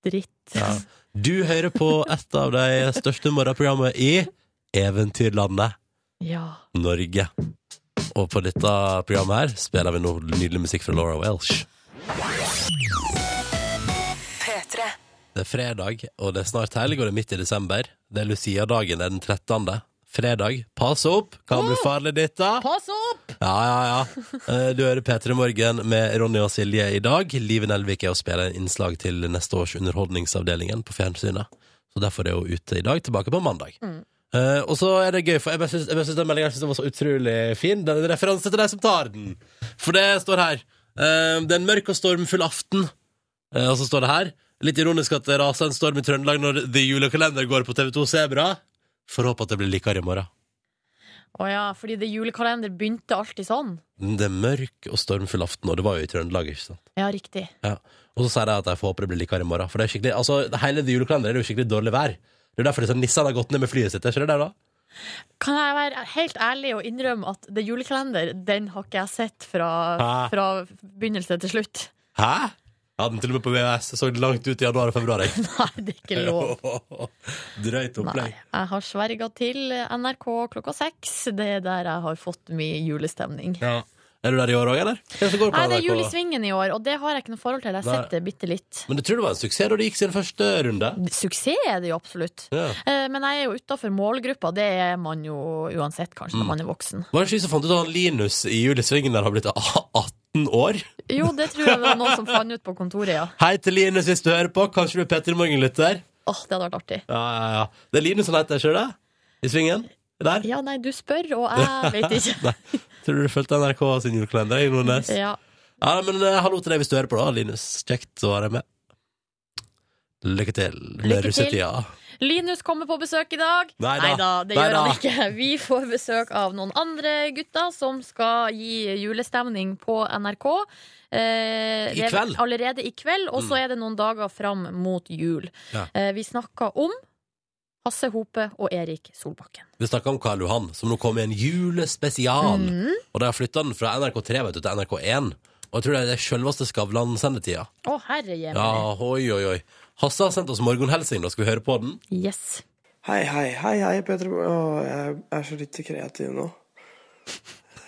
dritt.
Ja. Du hører på et av de største morgenprogrammene i Eventyrlandet
ja.
Norge. Og på dette programmet her spiller vi nå nydelig musikk fra Laura Welsh.
P3.
Det er fredag, og det er snart helg, og det er midt i desember. Det er Lucia-dagen, det er den 13. Fredag. Pass opp, kan bli farlig dette.
Pass opp!
Ja, ja, ja. Eh, Du hører P3 Morgen med Ronny og Silje i dag. Liven Elvik er å spille en innslag til neste års Underholdningsavdelingen på fjernsynet. Så derfor er hun ute i dag, tilbake på mandag. Eh, og så er det gøy, for jeg bare syns jeg bare syns den meldingen jeg synes den var så utrolig fin. Den er en referanse til deg som tar den. For det står her. eh, det er en mørk og stormfull aften. Eh, og så står det her. Litt ironisk at det raser en storm i Trøndelag når The Julekalender går på TV2 Sebra. Får håpe at det blir likere i morgen.
Å ja, fordi det julekalender begynte alltid sånn.
Det er mørk og stormfull aften, og det var jo i Trøndelag, ikke sant?
Ja, riktig.
Ja. Og så sier de at jeg får håpe det blir likere i morgen. For det er skikkelig, altså, hele det julekalenderen er jo skikkelig dårlig vær. Det er jo derfor disse nissene har gått ned med flyet sitt. Er ikke det der, da?
Kan jeg være helt ærlig og innrømme at det julekalender, den har ikke jeg sett fra,
Hæ?
fra begynnelse til slutt.
Hæ? Jeg hadde den til og med på VHS. Jeg så den langt ut i januar og februar. jeg.
Nei, det er ikke lov.
Drøyt
Nei,
opplegg.
jeg har sverga til NRK klokka seks. Det er der jeg har fått min julestemning.
Ja. Er du der i år òg, eller? Hva som går på
Nei, det er
NRK?
jul i svingen i år, og det har jeg ikke noe forhold til. Jeg har
Nei.
sett det bitte litt.
Men du tror det var en suksess da det gikk sin første runde?
Suksess er det jo absolutt.
Ja.
Eh, Men jeg er jo utafor målgruppa. Det er man jo uansett, kanskje,
Mm.
når man er voksen.
Var det ikke vi som fant ut at han Linus i Julesvingen der har blitt 18 år?
Jo, det tror jeg det var noen som fant ut på kontoret, ja.
Hei til Linus hvis du hører på. Kanskje du er Petter Morgen-lytter?
Åh, det hadde vært artig.
Ja, ja, ja. Det er Linus han heter, ikke det? I Svingen? Der?
Ja, nei, du spør, og jeg vet ikke.
Nei. Tror du du fulgte NRK sin julekalender? jeg, Nordnes? Ja.
Ja.
men eh, Hallo til deg hvis du hører på, da, Linus. Kjekt å ha deg med. Lykke til
Lykke
med
til.
russetida.
Linus kommer på besøk i dag.
Neida.
Neida, det gjør
Neida.
han ikke. Vi får besøk av noen andre gutter som skal gi julestemning på NRK. Eh,
I
det er
kveld. Mm.
Allerede i kveld, og så er det noen dager fram mot jul.
Ja.
Eh, vi snakker om Hasse Hope og Erik Solbakken.
Vi snakka om Karl Johan, som nå kom i en julespesial.
Mhm.
Og de har flytta den fra NRK3 vet du, til NRK1. Og jeg tror det er det selveste Skavlan-sendetida.
Å, herre jemini.
Ja, oi, oi, oi. Hasse har sendt oss morgenhelsing, da skal vi høre på den.
Yes.
Hei, hei, hei, hei, Petter. Åh, jeg er så lite kreativ nå.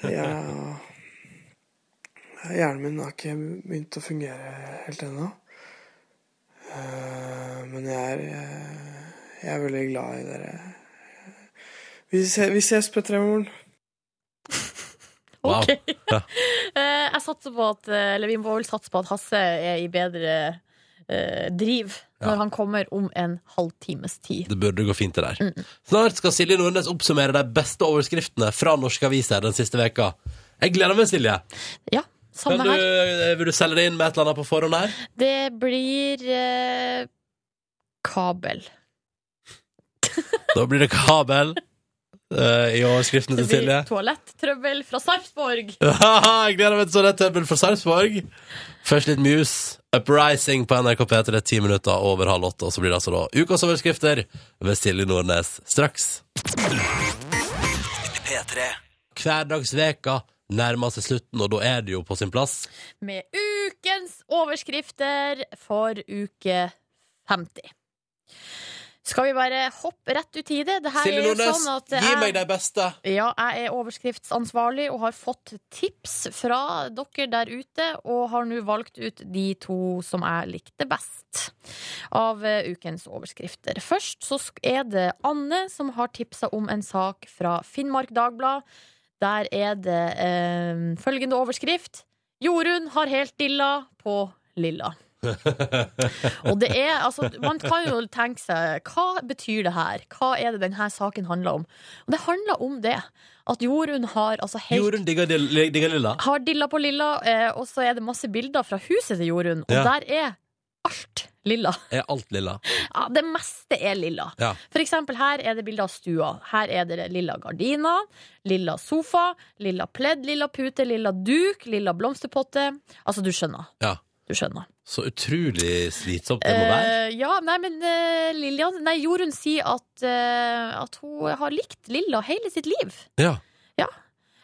Jeg, Hjernen min har ikke begynt å fungere helt ennå. Eh, Men jeg er, eh, jeg er veldig glad i dere. Vi, se, vi ses, P3 Morgen.
Wow. Ja.
Eh, jeg satser på at eh, Eller vi må vel satse på at Hasse er i bedre eh, driv når han kommer om en halvtimes tid.
Det burde gå fint det der.
Mm.
Snart skal Silje Nordnes oppsummere de beste overskriftene fra norske aviser den siste veka. Jeg gleder meg, Silje.
Ja, samme
kan du,
her.
eh, Vil du selge det inn med et eller annet på forhånd her?
Det blir eh, kabel.
Da blir det kabel eh, i overskriftene
Det
til
blir
Silje.
toalettrøbbel fra Sarpsborg.
jeg gleder meg til sånn et tøbbel fra Sarpsborg. Først litt Muse. Uprising på NRK P3 ti minutter over halv åtte. Og så blir det altså da ukas overskrifter ved Silje Nordnes straks.
P3.
Hverdagsveka nærmer seg slutten, og da er det jo på sin plass.
Med ukens overskrifter for uke 50. Skal vi bare hoppe rett ut i det? det her
Silje
er jo
Nordnes,
sånn at
gi
jeg-
meg de beste.
Ja, jeg er overskriftsansvarlig og har fått tips fra dere der ute, og har nå valgt ut de to som jeg likte best av eh, ukens overskrifter. Først så sk- er det Anne som har tipsa om en sak fra Finnmark Dagblad. Der er det eh, følgende overskrift. Jorunn har helt dilla på lilla. Og det er, altså, Man kan jo tenke seg hva betyr det her? Hva er det denne saken handler om? Og det handler om det. At Jorunn har altså helt
Jorunn digger dill- digger lilla.
har dilla på lilla, eh, og så er det masse bilder fra huset til Jorunn, og
Ja.
der er alt lilla.
Er alt lilla.
Ja, det meste er lilla.
Ja.
For eksempel her er det bilder av stua. Her er det lilla gardiner, lilla sofa, lilla pledd, lilla pute, lilla duk, lilla blomsterpotte. Altså, du skjønner.
ja.
Du skjønner.
Så utrolig slitsomt det må være.
Eh, ja, nei, men eh, Lillian Nei, Jorunn sier at, eh, at hun har likt Lilla hele sitt liv.
Ja.
Ja.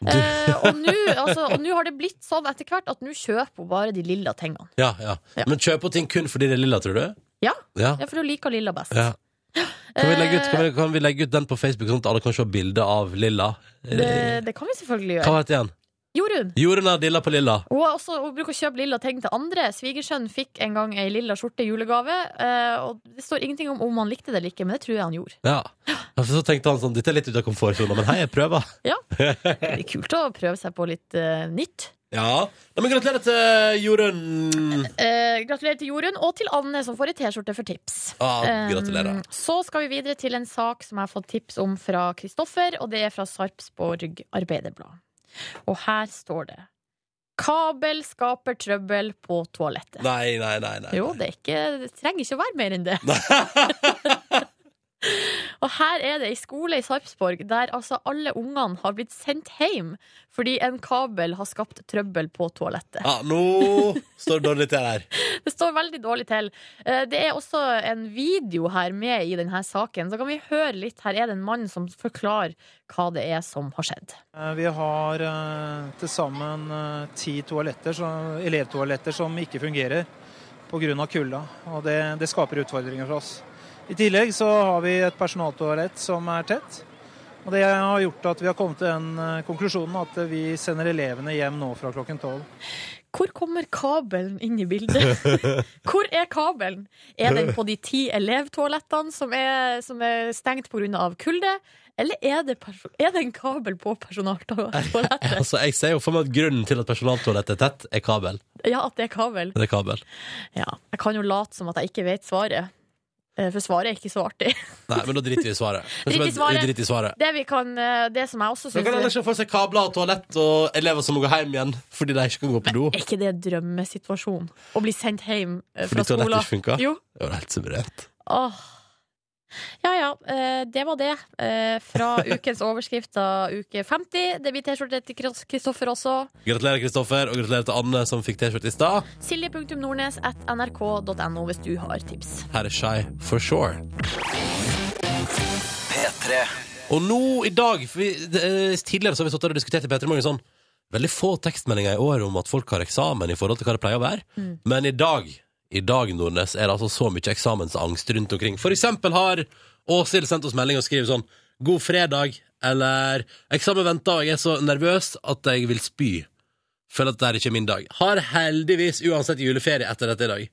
Eh, og nå altså, og nå har det blitt sånn etter hvert at nå kjøper hun bare de lilla tingene.
Ja, ja. Men kjøper hun ting kun fordi det er lilla, tror du?
Ja,
Ja.
ja Eh. for hun liker Lilla best.
ja. Kan, vi legge ut, kan, vi, kan vi legge ut den på Facebook, sånn at alle kan se bilde av lilla?
Det, det kan vi selvfølgelig
Hva
gjøre.
heter den?
Jorunn.
Jorunn har dilla på lilla.
Hun, har også, hun bruker å kjøpe lilla ting til andre. Svigersønnen fikk en gang ei lilla skjorte i julegave. eh, og Det står ingenting om om han likte det eller ikke, men det tror jeg han gjorde.
Ja. Og så tenkte han sånn, dette er litt ute av komfortsona, men hei, jeg prøver.
Ja. Det er kult å prøve seg på litt eh, nytt.
Ja. Nei, men gratulerer til eh, Jorunn.
Eh, gratulerer til Jorunn og til Anne, som får ei T-skjorte for tips.
Ja, Ah, gratulerer.
Eh, så skal vi videre til en sak som jeg har fått tips om fra Kristoffer, og det er fra Sarpsborg Arbeiderblad. Og her står det Kabel skaper trøbbel på toalettet.
Nei, nei, nei. nei.
Jo, det, er ikke, det trenger ikke å være mer enn det. og her er det ei skole i Sarpsborg der altså alle ungene har blitt sendt hjem fordi en kabel har skapt trøbbel på toalettet.
Ja, Ah, nå står det dårlig til her.
Det står veldig dårlig til. Eh, Det er også en video her med i denne saken. Så kan vi høre litt. Her er det en mann som forklarer hva det er som har skjedd.
Eh, Vi har eh, til sammen eh, ti toaletter, så- elevtoaletter som ikke fungerer pga. kulda. Og det, det skaper utfordringer for oss. I tillegg så har vi et personaltoalett som er tett. Og det har gjort at vi har kommet til den eh, konklusjonen at eh, vi sender elevene hjem nå fra klokken tolv.
Hvor kommer kabelen inn i bildet? Hvor er kabelen? Er den på de ti elevtoalettene som er, som er stengt pga. kulde? Eller er det, perso- er det en kabel på personaltoalettet?
Altså, jeg ser jo for meg at grunnen til at personaltoalettet er tett, er kabel.
Ja, at det er kabel.
Det er kabel.
Ja. Jeg kan jo late som at jeg ikke vet svaret. Eh, For svaret er ikke så artig.
Nei, men da driter vi i svaret. Kanskje
Drit i
bare-
svaret.
Drit i svaret.
Det, vi kan, eh, det som jeg også
Men
syns
kan alle se for seg kabler og toalett og elever som må gå hjem igjen fordi de ikke kan gå på do?
Er ikke det drømmesituasjonen? Å bli sendt hjem eh, fra
Fordi toalettet
skolen?
ikke funka?
Jo.
Det var helt suverent.
Åh. Ja ja, eh, det var det. eh, Fra ukens overskrifter uke 50. Det blir T-skjorte til Kros- Kristoffer også.
Gratulerer, Kristoffer, og gratulerer til Anne som fikk T-skjorte i stad.
Silje.nordnes at nrk.no hvis du har tips.
Her er Shy for sure.
P3.
Og nå i dag for vi, det, eh, Tidligere så har vi stått der og diskutert i Peter Morgen sånn Veldig få tekstmeldinger i år om at folk har eksamen i forhold til hva det pleier å være. Men i dag, i dag, Nordnes, er det altså så mye eksamensangst rundt omkring. For eksempel har Åshild sendt oss melding og skriver sånn God fredag, eller Eksamen venter, og jeg er så nervøs at jeg vil spy. Føler at det ikke er min dag. Har heldigvis uansett juleferie etter dette i dag.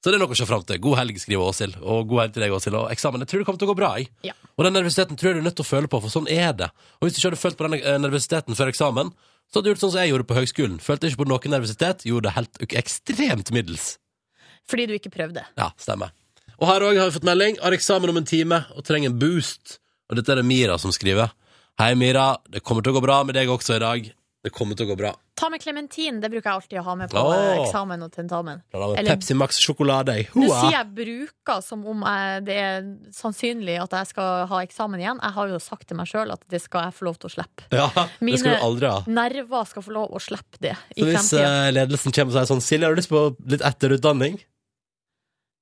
Så det er noe å se fram til. God helg, skriver Åshild. Og god helg til deg, Åshild. Og eksamen. Jeg tror det kommer til å gå bra. Jeg.
Ja.
Og den nervøsiteten tror jeg du er nødt til å føle på, for sånn er det. Og hvis du ikke hadde følt på den eh, nervøsiteten før eksamen, så hadde du gjort sånn som jeg gjorde på høgskolen. Følte ikke på noe nervøsitet, gjorde det helt ek- ekstremt middels.
Fordi du ikke prøvde.
Ja, stemmer. Og her òg har vi fått melding. Har eksamen om en time og trenger en boost. Og dette er det Mira som skriver. Hei, Mira. Det kommer til å gå bra med deg også i dag. Det kommer til å gå bra.
Ta med klementin. Det bruker jeg alltid å ha med på
Åh.
eh, eksamen og tentamen.
Da har vi
Eller-
Pepsi Max sjokolade i
Nå sier
hoa.
jeg 'bruker' som om jeg, det er sannsynlig at jeg skal ha eksamen igjen. Jeg har jo sagt til meg sjøl at det skal jeg få lov til å slippe.
Ja,
Mine
det skal du aldri ha.
nerver skal få lov å slippe det i
Så hvis
fremtiden.
eh, ledelsen kommer og sier sånn Silje, har du lyst på litt etterutdanning?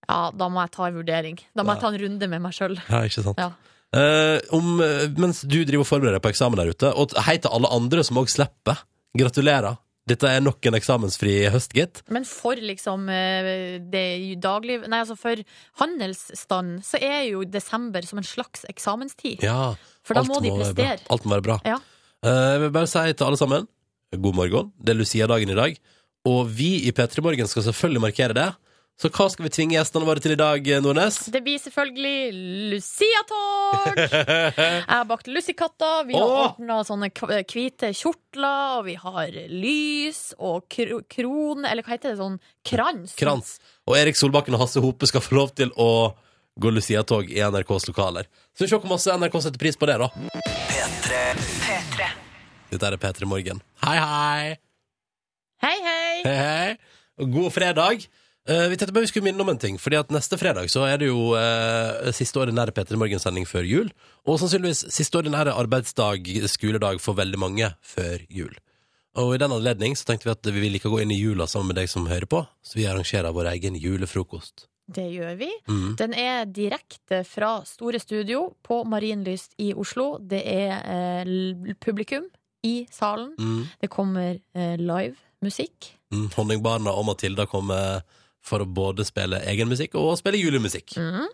Ja, da må jeg ta en vurdering. Da
Ja.
må jeg ta en runde med meg sjøl.
Ja, ikke sant?
Ja.
Eh, om, eh, mens du driver og forbereder deg på eksamen der ute, og t- hei til alle andre som òg slipper. Gratulerer. Dette er nok en eksamensfri høst, gitt.
Men for liksom eh, det daglige Nei, altså for handelsstand så er jo desember som en slags eksamenstid.
Ja,
For da
alt
må de
være bra.
prestere.
Alt må være bra.
Ja.
Eh, Jeg vil bare si til alle sammen God morgen, det er Lucia-dagen i dag Og vi i P3 Morgen skal selvfølgelig markere det Så hva skal vi tvinge gjestene våre til i dag, eh, Nordnes?
Det blir selvfølgelig Lucia-tog! Jeg har bakt lussekatter, vi har
Åh!
ordna sånne k- hvite kjortler, og vi har lys og kro krone Eller hva heter det? Sånn krans?
Krans Og Erik Solbakken og Hasse Hope skal få lov til å gå Lucia-tog i NRKs lokaler Så vi ser hvor masse NRK setter pris på det da
P3.
Dette er P3 Morgen Hei hei
Hei, hei!
Hei, hei. Og God fredag. Eh, vi tenkte bare vi skulle minne om en ting, fordi at neste fredag så er det jo eh, siste ordinære P3 Morgen-sending før jul, og sannsynligvis siste ordinære arbeidsdag, skoledag, for veldig mange før jul. Og i den anledning så tenkte vi at vi vil like å gå inn i jula sammen med deg som hører på, så vi arrangerer vår egen julefrokost.
Det gjør vi.
Mhm.
Den er direkte fra Store Studio på Marienlyst i Oslo. Det er eh, l- publikum i salen.
Mhm.
Det kommer eh, live musikk.
Mm, Honningbarna og Matilda kommer for å både spille egen musikk og spille julemusikk.
Mhm.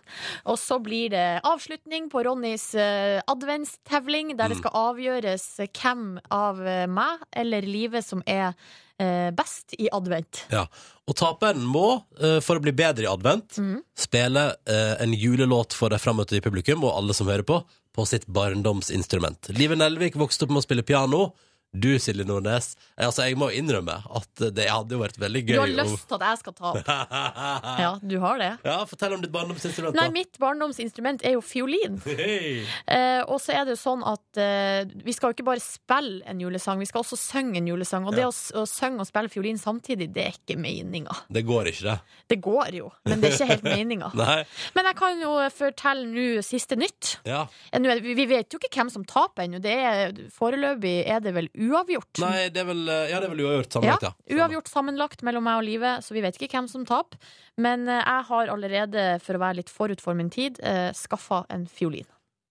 Og så blir det avslutning på Ronnys eh, adventstevling, der det
Mhm.
skal avgjøres hvem av eh, meg eller livet som er eh, best i advent.
Ja. Og taperen må, eh, for å bli bedre i advent,
Mm.
spille eh, en julelåt for de frammøtte i publikum og alle som hører på, på sitt barndomsinstrument. Live Nelvik vokste opp med å spille piano. Du, Silje Nordnes. eh, Altså, jeg må innrømme at det hadde jo vært veldig gøy
Du har
å-
lyst til at jeg skal ta opp.
ja.
Ja, du har det.
fortell om ditt barndomsinstrument,
Nei, mitt barndomsinstrument er jo fiolin.
Hei.
Eh, og så er det jo sånn at eh, vi skal jo ikke bare spille en julesang, vi skal også synge en julesang. Og det
Ja.
å, s- å synge og spille fiolin samtidig, det er ikke meninga.
Det går ikke, det.
Det går jo, men det er ikke helt meninga.
Nei.
Men jeg kan jo fortelle nå siste nytt.
Ja.
Eh, nå er- vi- Vi vet jo ikke hvem som taper ennå. Det er- Foreløpig er det vel uavgjort.
Nei, det er vel, eh, ja, det er vel uavgjort
Ja,
sammenlagt, ja.
uavgjort sammenlagt mellom meg og livet, så vi vet ikke hvem som taper. Men eh, jeg har allerede, for å være litt forut for min tid, eh, skaffa en fiolin.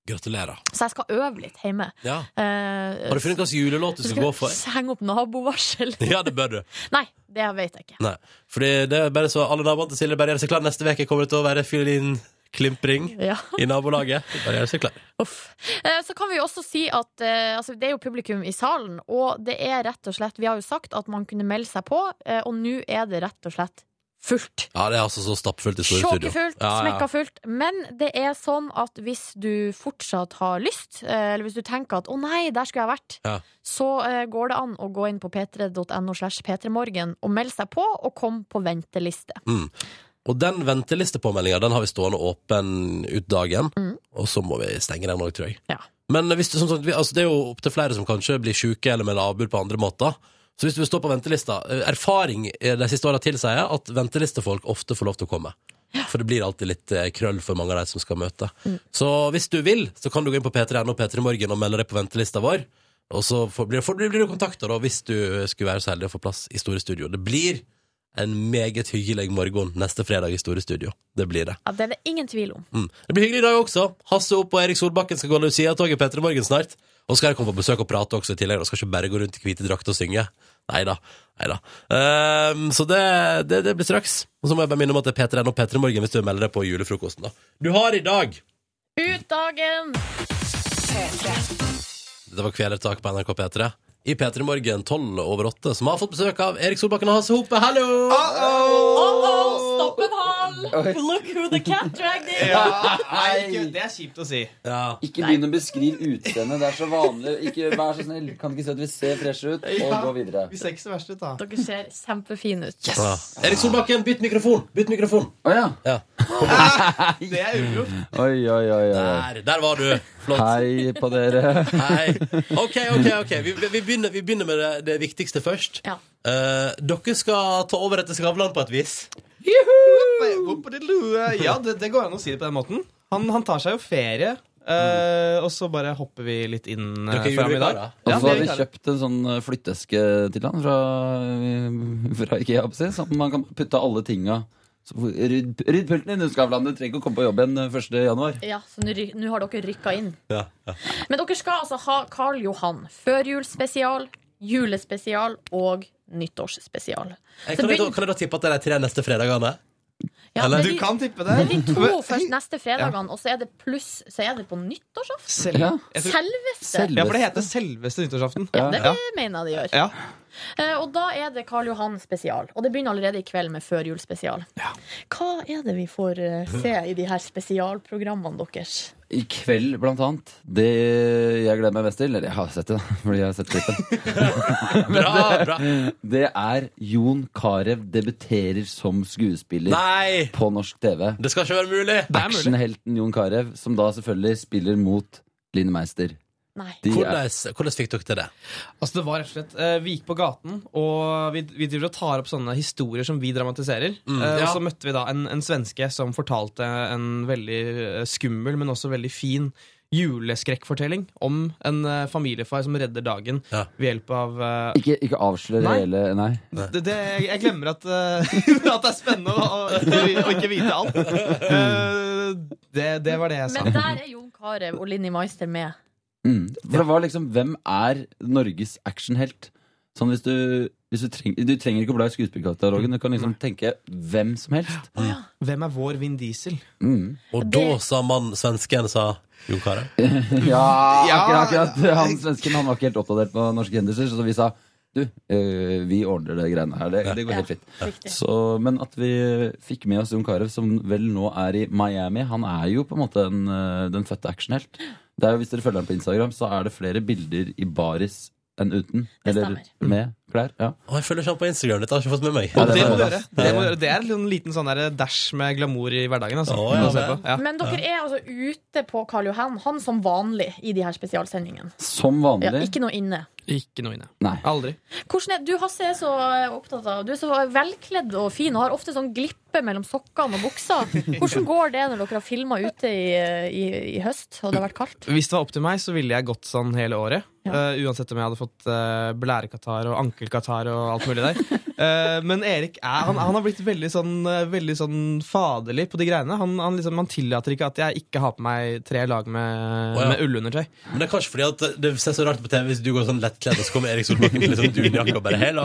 Gratulerer.
Så jeg skal øve litt hjemme.
Ja.
Eh,
Har du funnet hvilken julelåt du skal gå for?
Henge opp nabovarsel.
Ja, det bør du.
Nei, det vet jeg ikke.
Nei, fordi det er bare så Alle naboene til Silje bare gjør seg klar Neste veke kommer det til å være fiolinklimpring
Ja.
I nabolaget Bare gjør seg klar
Eh, Så kan vi jo også si at eh, altså, det er jo publikum i salen, og det er rett og slett Vi har jo sagt at man kunne melde seg på, eh, og nå er det rett og slett fullt.
Ja, det er altså så stappfullt i store studio
Sjåkefullt,
ja, ja.
smekka fullt. Men det er sånn at hvis du fortsatt har lyst, eh, eller hvis du tenker at 'å nei, der skulle jeg vært',
Ja.
så eh, går det an å gå inn på p3.no slash p3morgen og melde seg på, og komme på venteliste.
mm. Og den ventelistepåmeldingen Den har vi stående åpen ut dagen Og så må vi stenge den også, tror jeg
Ja.
Men hvis du, som sagt, vi, altså, det er jo opp til flere som kanskje blir syke Eller melder avbud på andre måter Så hvis du vil stå på ventelista eh, Erfaring eh, de siste årene tilsier At ventelistefolk ofte får lov til å komme For det blir alltid litt eh, krøll for mange av de som skal møte Så hvis du vil, så kan du gå inn på P3N og P3 Morgen og melde deg på ventelista vår. Og så får, blir, får, blir du kontakta da, hvis du skulle være så heldig å få plass i Store Studio. Det blir en meget hyggelig morgen neste fredag i Store Studio. Det blir det.
Ja, det er det ingen tvil om.
Mm. Det blir hyggelig i dag også. Hasse Opp og Erik Solbakken skal gå Lucia-toget P3 Morgen snart. Og skal jeg komme på besøk og prate også i tillegg. Og skal ikke bare gå rundt i hvite drakter og synge. Nei da. så det, det, det blir straks. Og så må jeg bare minne om at det er P3N og P3 Morgen hvis du melder deg på julefrokosten. da. Du har i dag
Ut dagen!
Dette var Kvelertak på NRK P3. i P3 Morgen 12 over 8, som har fått besøk av Erik Solbakken og Hasse Hope. Hallo!
Stopp en hal! Look who the cat dragged in!
Ja, nei, ikke- det er kjipt å si.
Ikke begynn å beskrive utseendet. Det er så vanlig. Ikke, vær så snill. Kan ikke si at vi ser freshe ut, og
Ja.
gå videre.
Vi ser ikke så verst ut, da.
Dere ser kjempefine ut.
Ja. Ah. Erik Solbakken, bytt mikrofon! Bytt mikrofon! Ja.
Det er uproft.
Oi, oi, oi.
Der, der var du. Flott.
Hei på dere.
Hei. Ok, ok, ok. Vi, vi- vi, begynner, vi begynner med det, det viktigste først. Eh, dere skal ta over etter Skavlan på et vis.
Eh, Whoop-a-dee-loo. Ja, det, det går an å si det på den måten. Han, han tar seg jo ferie, eh, og så bare hopper vi litt inn eh,
Dere
for ham i dag.
Og så
Ja,
har
det
vi
er vi klare.
kjøpt en sånn eh, flytteeske til han fra, eh, fra Ikea, på å si, som man kan putte alle tinga Så Rydd rydd pulten din, Skavlan. Du trenger ikke å komme på jobb igjen eh, 1. januar.
Ja, så nå ry- nå har dere rykka inn.
Ja, ja.
Men dere skal altså ha Karl Johan. Førjulsspesial, julespesial og nyttårsspesial.
Eh,
Så
Kan jeg, da,
begynn-
kan jeg da tippe at det er de tre neste fredagene?
Ja,
Eller?
men de- Men de to først neste fredagene, og så er det pluss Så er det på nyttårsaften.
Selv- Ja. Jeg tror-
Selveste.
Ja, for det heter selveste nyttårsaften.
Ja, det mener jeg de gjør.
Ja.
Eh, Og da er det Karl Johan spesial. Og det begynner allerede i kveld med førjulsspesial. Hva er det vi får eh, se i de her spesialprogrammene deres?
I kveld, blant annet. Det jeg gleder meg mest til Eller jeg har sett det, da, fordi jeg har sett klippen. Men
Bra, bra.
Det er Jon Carew debuterer som skuespiller
Nei!
på norsk TV.
Det skal ikke være mulig!
Actionhelten Jon Carew, som da selvfølgelig spiller mot Line Meister. De er-
Hvordan, hvordan fikk dere til det?
Altså det var rett og slett eh, Vi gikk på gaten, og vi, vi driver og tar opp sånne historier som vi dramatiserer.
Mm,
Eh,
ja.
Og så møtte vi da en, en svenske som fortalte en veldig eh, skummel, men også veldig fin juleskrekkfortelling om en eh, familiefar som redder dagen ved hjelp av eh,
Ikke, ikke avsløre det
Nei.
hele, nei.
det, det, jeg glemmer at, eh, at det er spennende å, å, å ikke vite alt. Eh, det, det var det jeg sa.
Men der er Jon Carew og Linni Meister med.
Mm. For det var liksom Hvem er Norges actionhelt? Sånn hvis du, hvis du, treng, du trenger ikke å bla i skuespillerkatalogen. Du kan liksom tenke hvem som helst. Mm.
Hvem er vår Vin Diesel?
Og da sa mann svensken sa Jon Carew.
Ja,
Ja.
akkurat, akkurat. Han svensken han var ikke helt oppdatert på norske hendelser, så vi sa du, eh, vi ordner det greiene her. Det, det går helt
Ja,
fint. Så, men at vi fikk med oss Jon Carew, som vel nå er i Miami Han er jo på en måte en, eh, den fødte actionhelt. Det er jo, hvis dere følger ham på Instagram, så er det flere bilder i baris enn uten. Eller Mm. med klær. Ja.
Å, jeg følger ikke han på Instagram. Dette har jeg ikke fått med meg.
Ja, det
Det
var-
må du gjøre. Det, må du gjøre. det er en liten sånn der dash med glamour i hverdagen. Altså.
Å, ja,
Å se
vel.
på. Ja.
Men dere er altså ute på Karl Johan, han som vanlig, i de her spesialsendingene.
Som
Ja,
vanlig.
ikke noe inne.
Ikke noe inne. Aldri.
Hvordan er, du Hasse, er så eh, opptatt av Du er så velkledd og fin og har ofte sånn glippe mellom sokkene og buksa. Hvordan går det når dere har filma ute i, eh, i, i høst og det har vært kaldt?
Hvis det var opp til meg, så ville jeg gått sånn hele året. Eh, uansett om jeg hadde fått uh, blærekatarr og ankelkatarr og alt mulig der. Eh, men Erik er, han, han har blitt veldig sånn, eh, veldig sånn faderlig på de greiene. Han, han, liksom, han tillater ikke at jeg ikke har på meg tre lag med,
Å, ja.
med ullundertøy.
Men det er kanskje fordi at det ser så rart på TV hvis du går sånn lettkledd, og så kommer Erik Solbakken i litt sånn dunjakke og bare hello.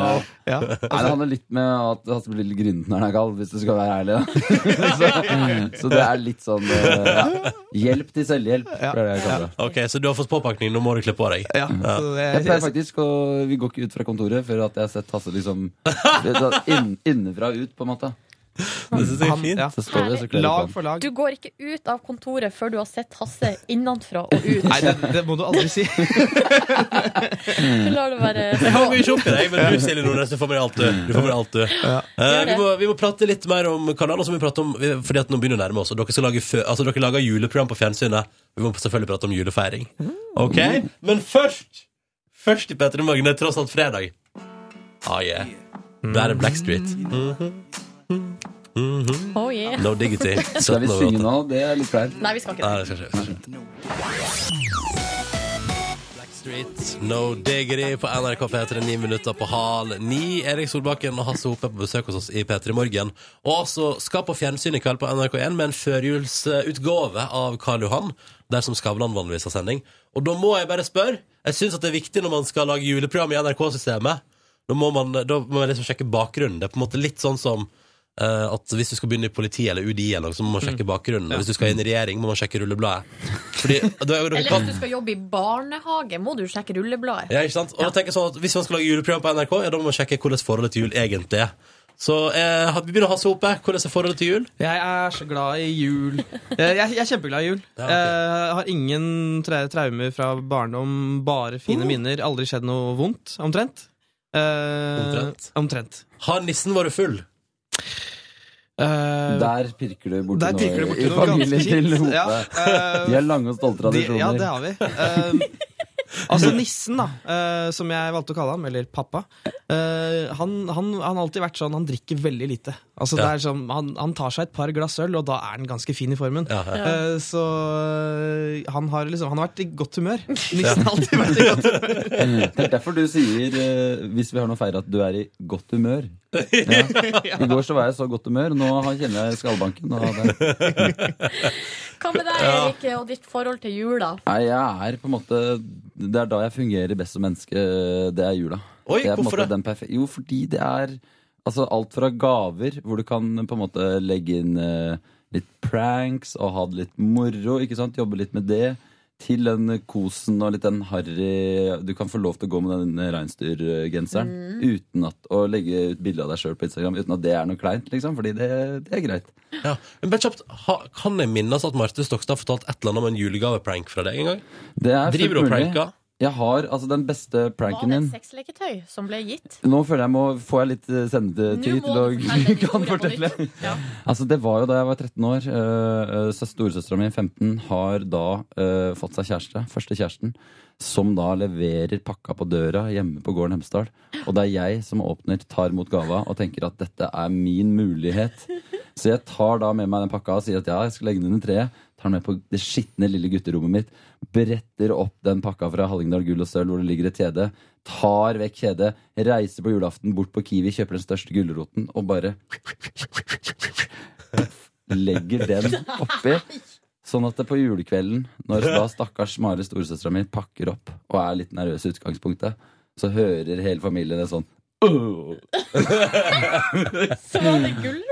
Ja.
Nei, det handler litt med at Hasse blir litt grinete når han er kald, hvis du skal være ærlig. Da. så, så det er litt sånn eh, ja. Hjelp til selvhjelp, pleier jeg å kalle det.
Ok, Så du har fått påpakning, nå må du kle på deg.
så det-
Jeg pleier faktisk å Vi går ikke ut fra kontoret før at jeg har sett Hasse liksom det er sånn inn, innenfra og ut, på en måte.
Det synes jeg er fint.
Så står det, så kler jeg på den.
Du går ikke ut av kontoret før du har sett Hasse innenfra og ut.
Nei, det, det må du aldri si. Mm.
Du lar det være
Jeg har mye sjokk i deg, men du Silje Nordnes, du får med deg alt, du. du. Får med deg alt, du. Eh, vi, må, vi må prate litt mer om kanalen, så må vi prate om, fordi at nå begynner det å nærme oss. Og dere, skal lage, fø- altså, dere lager juleprogram på fjernsynet. Vi må selvfølgelig prate om julefeiring.
Mm.
Ok? Men først Først i P3 Morgen, det er tross alt fredag. Ah, yeah. Der er Blackstreet. Mhm.
Oh, yeah.
No diggity.
Skal vi synge nå? Det er litt flaut.
Nei, vi skal ikke
Nei, det skal ikke. vi skal ikke. Blackstreet, No Diggity på NRK P3, ni minutter på hal ni. Erik Solbakken og Hasse Hope er på besøk hos oss i P3 Morgen. Og så skal på fjernsyn i kveld på NRK1 med en førjulsutgave av Karl Johan, der som Skavlan vanligvis har sending. Og da må jeg bare spørre, jeg syns at det er viktig når man skal lage juleprogram i NRK-systemet, da må man, da må man liksom sjekke bakgrunnen. Det er på en måte litt sånn som eh, at hvis du skal begynne i politiet eller UDI, eller noe, så må man
Mm.
sjekke bakgrunnen. Hvis du skal inn i regjering, må man sjekke rullebladet. Fordi, da, er jo-
Eller hvis du skal jobbe i barnehage, må du sjekke rullebladet.
ja, ikke sant? Og da tenker jeg sånn at Hvis man skal lage juleprogram på NRK, ja, da må man sjekke hvordan forholdet til jul egentlig er. Så eh, vi begynner å ha oppe. Hvordan er forholdet til jul?
Jeg er så glad i jul. Jeg, jeg er kjempeglad i jul. Jeg har ingen tra traumer fra barndom, bare fine minner. Aldri skjedd noe vondt, omtrent. Eh,
Omtrent.
omtrent.
Har nissen vært full?
Der pirker du borti
Eh, Der pirker
noe
du borti
i
noe
familien
ganske
til
kjipt.
Hope.
Ja, eh,
De har lange og stolte
De-
tradisjoner.
Ja, det har vi. Eh, altså Nissen, da, eh, som jeg valgte å kalle ham, eller pappa, eh, han han- han har alltid vært sånn Han drikker veldig lite. Altså det
Ja.
er sånn, han, han tar seg et par glass øl, og da er han ganske fin i formen.
ja. Ja.
Eh, så eh, han har liksom Han har vært i godt humør. Nissen
Ja.
har alltid vært i godt humør.
Det er derfor du sier, eh, hvis vi har noe feil, at du er i godt humør. Ja. I går så var jeg i så godt humør, nå har- kjenner jeg skallbanken. Og det.
Hva med deg,
Ja.
Erik, og ditt forhold til jula?
Nei, jeg er på en måte Det er da jeg fungerer best som menneske, det er jula.
Oi,
det er på en
hvorfor
måte
det?
den perfe- jo, fordi det er altså, alt fra gaver, hvor du kan på en måte legge inn eh, litt pranks og ha det litt moro, ikke sant? jobbe litt med det. Til den kosen og litt den harry Du kan få lov til å gå med den reinsdyrgenseren
Mm.
uten at å legge ut bilde av deg sjøl på Instagram uten at det er noe kleint, liksom. Fordi det, det er greit.
Ja, men bare kjapt, ha, Kan jeg minnes at Marte Stokstad har fortalt et eller annet om en julegaveprank fra deg en gang?
Det er fullt
Driver du og
mulig.
pranker?
Jeg har altså den beste
Var det
pranken min.
et sexleketøy som ble gitt?
Nå føler jeg må, får jeg litt eh, sendetid til å kan fortelle. Altså, det var jo da jeg var 13 år. eh, søs- Storesøstera mi, 15, har da eh, fått seg kjæreste. Første kjæresten. Som da leverer pakka på døra hjemme på gården Hemsedal. Og det er jeg som åpner, tar imot gava og tenker at dette er min mulighet. Så jeg tar da med meg den pakka og sier at ja, jeg skal legge den under treet. Tar den med på det skitne lille gutterommet mitt. Bretter opp den pakka fra Hallingdal Gull og Sølv hvor det ligger et kjede. Tar vekk kjedet, reiser på julaften bort på Kiwi, kjøper den største gulroten og bare legger den oppi. Sånn at det på julekvelden, når da stakkars Mari, storesøstera mi, pakker opp og er litt nervøs i utgangspunktet, så hører hele familien det sånn «Åh!»
Så var det gulrot?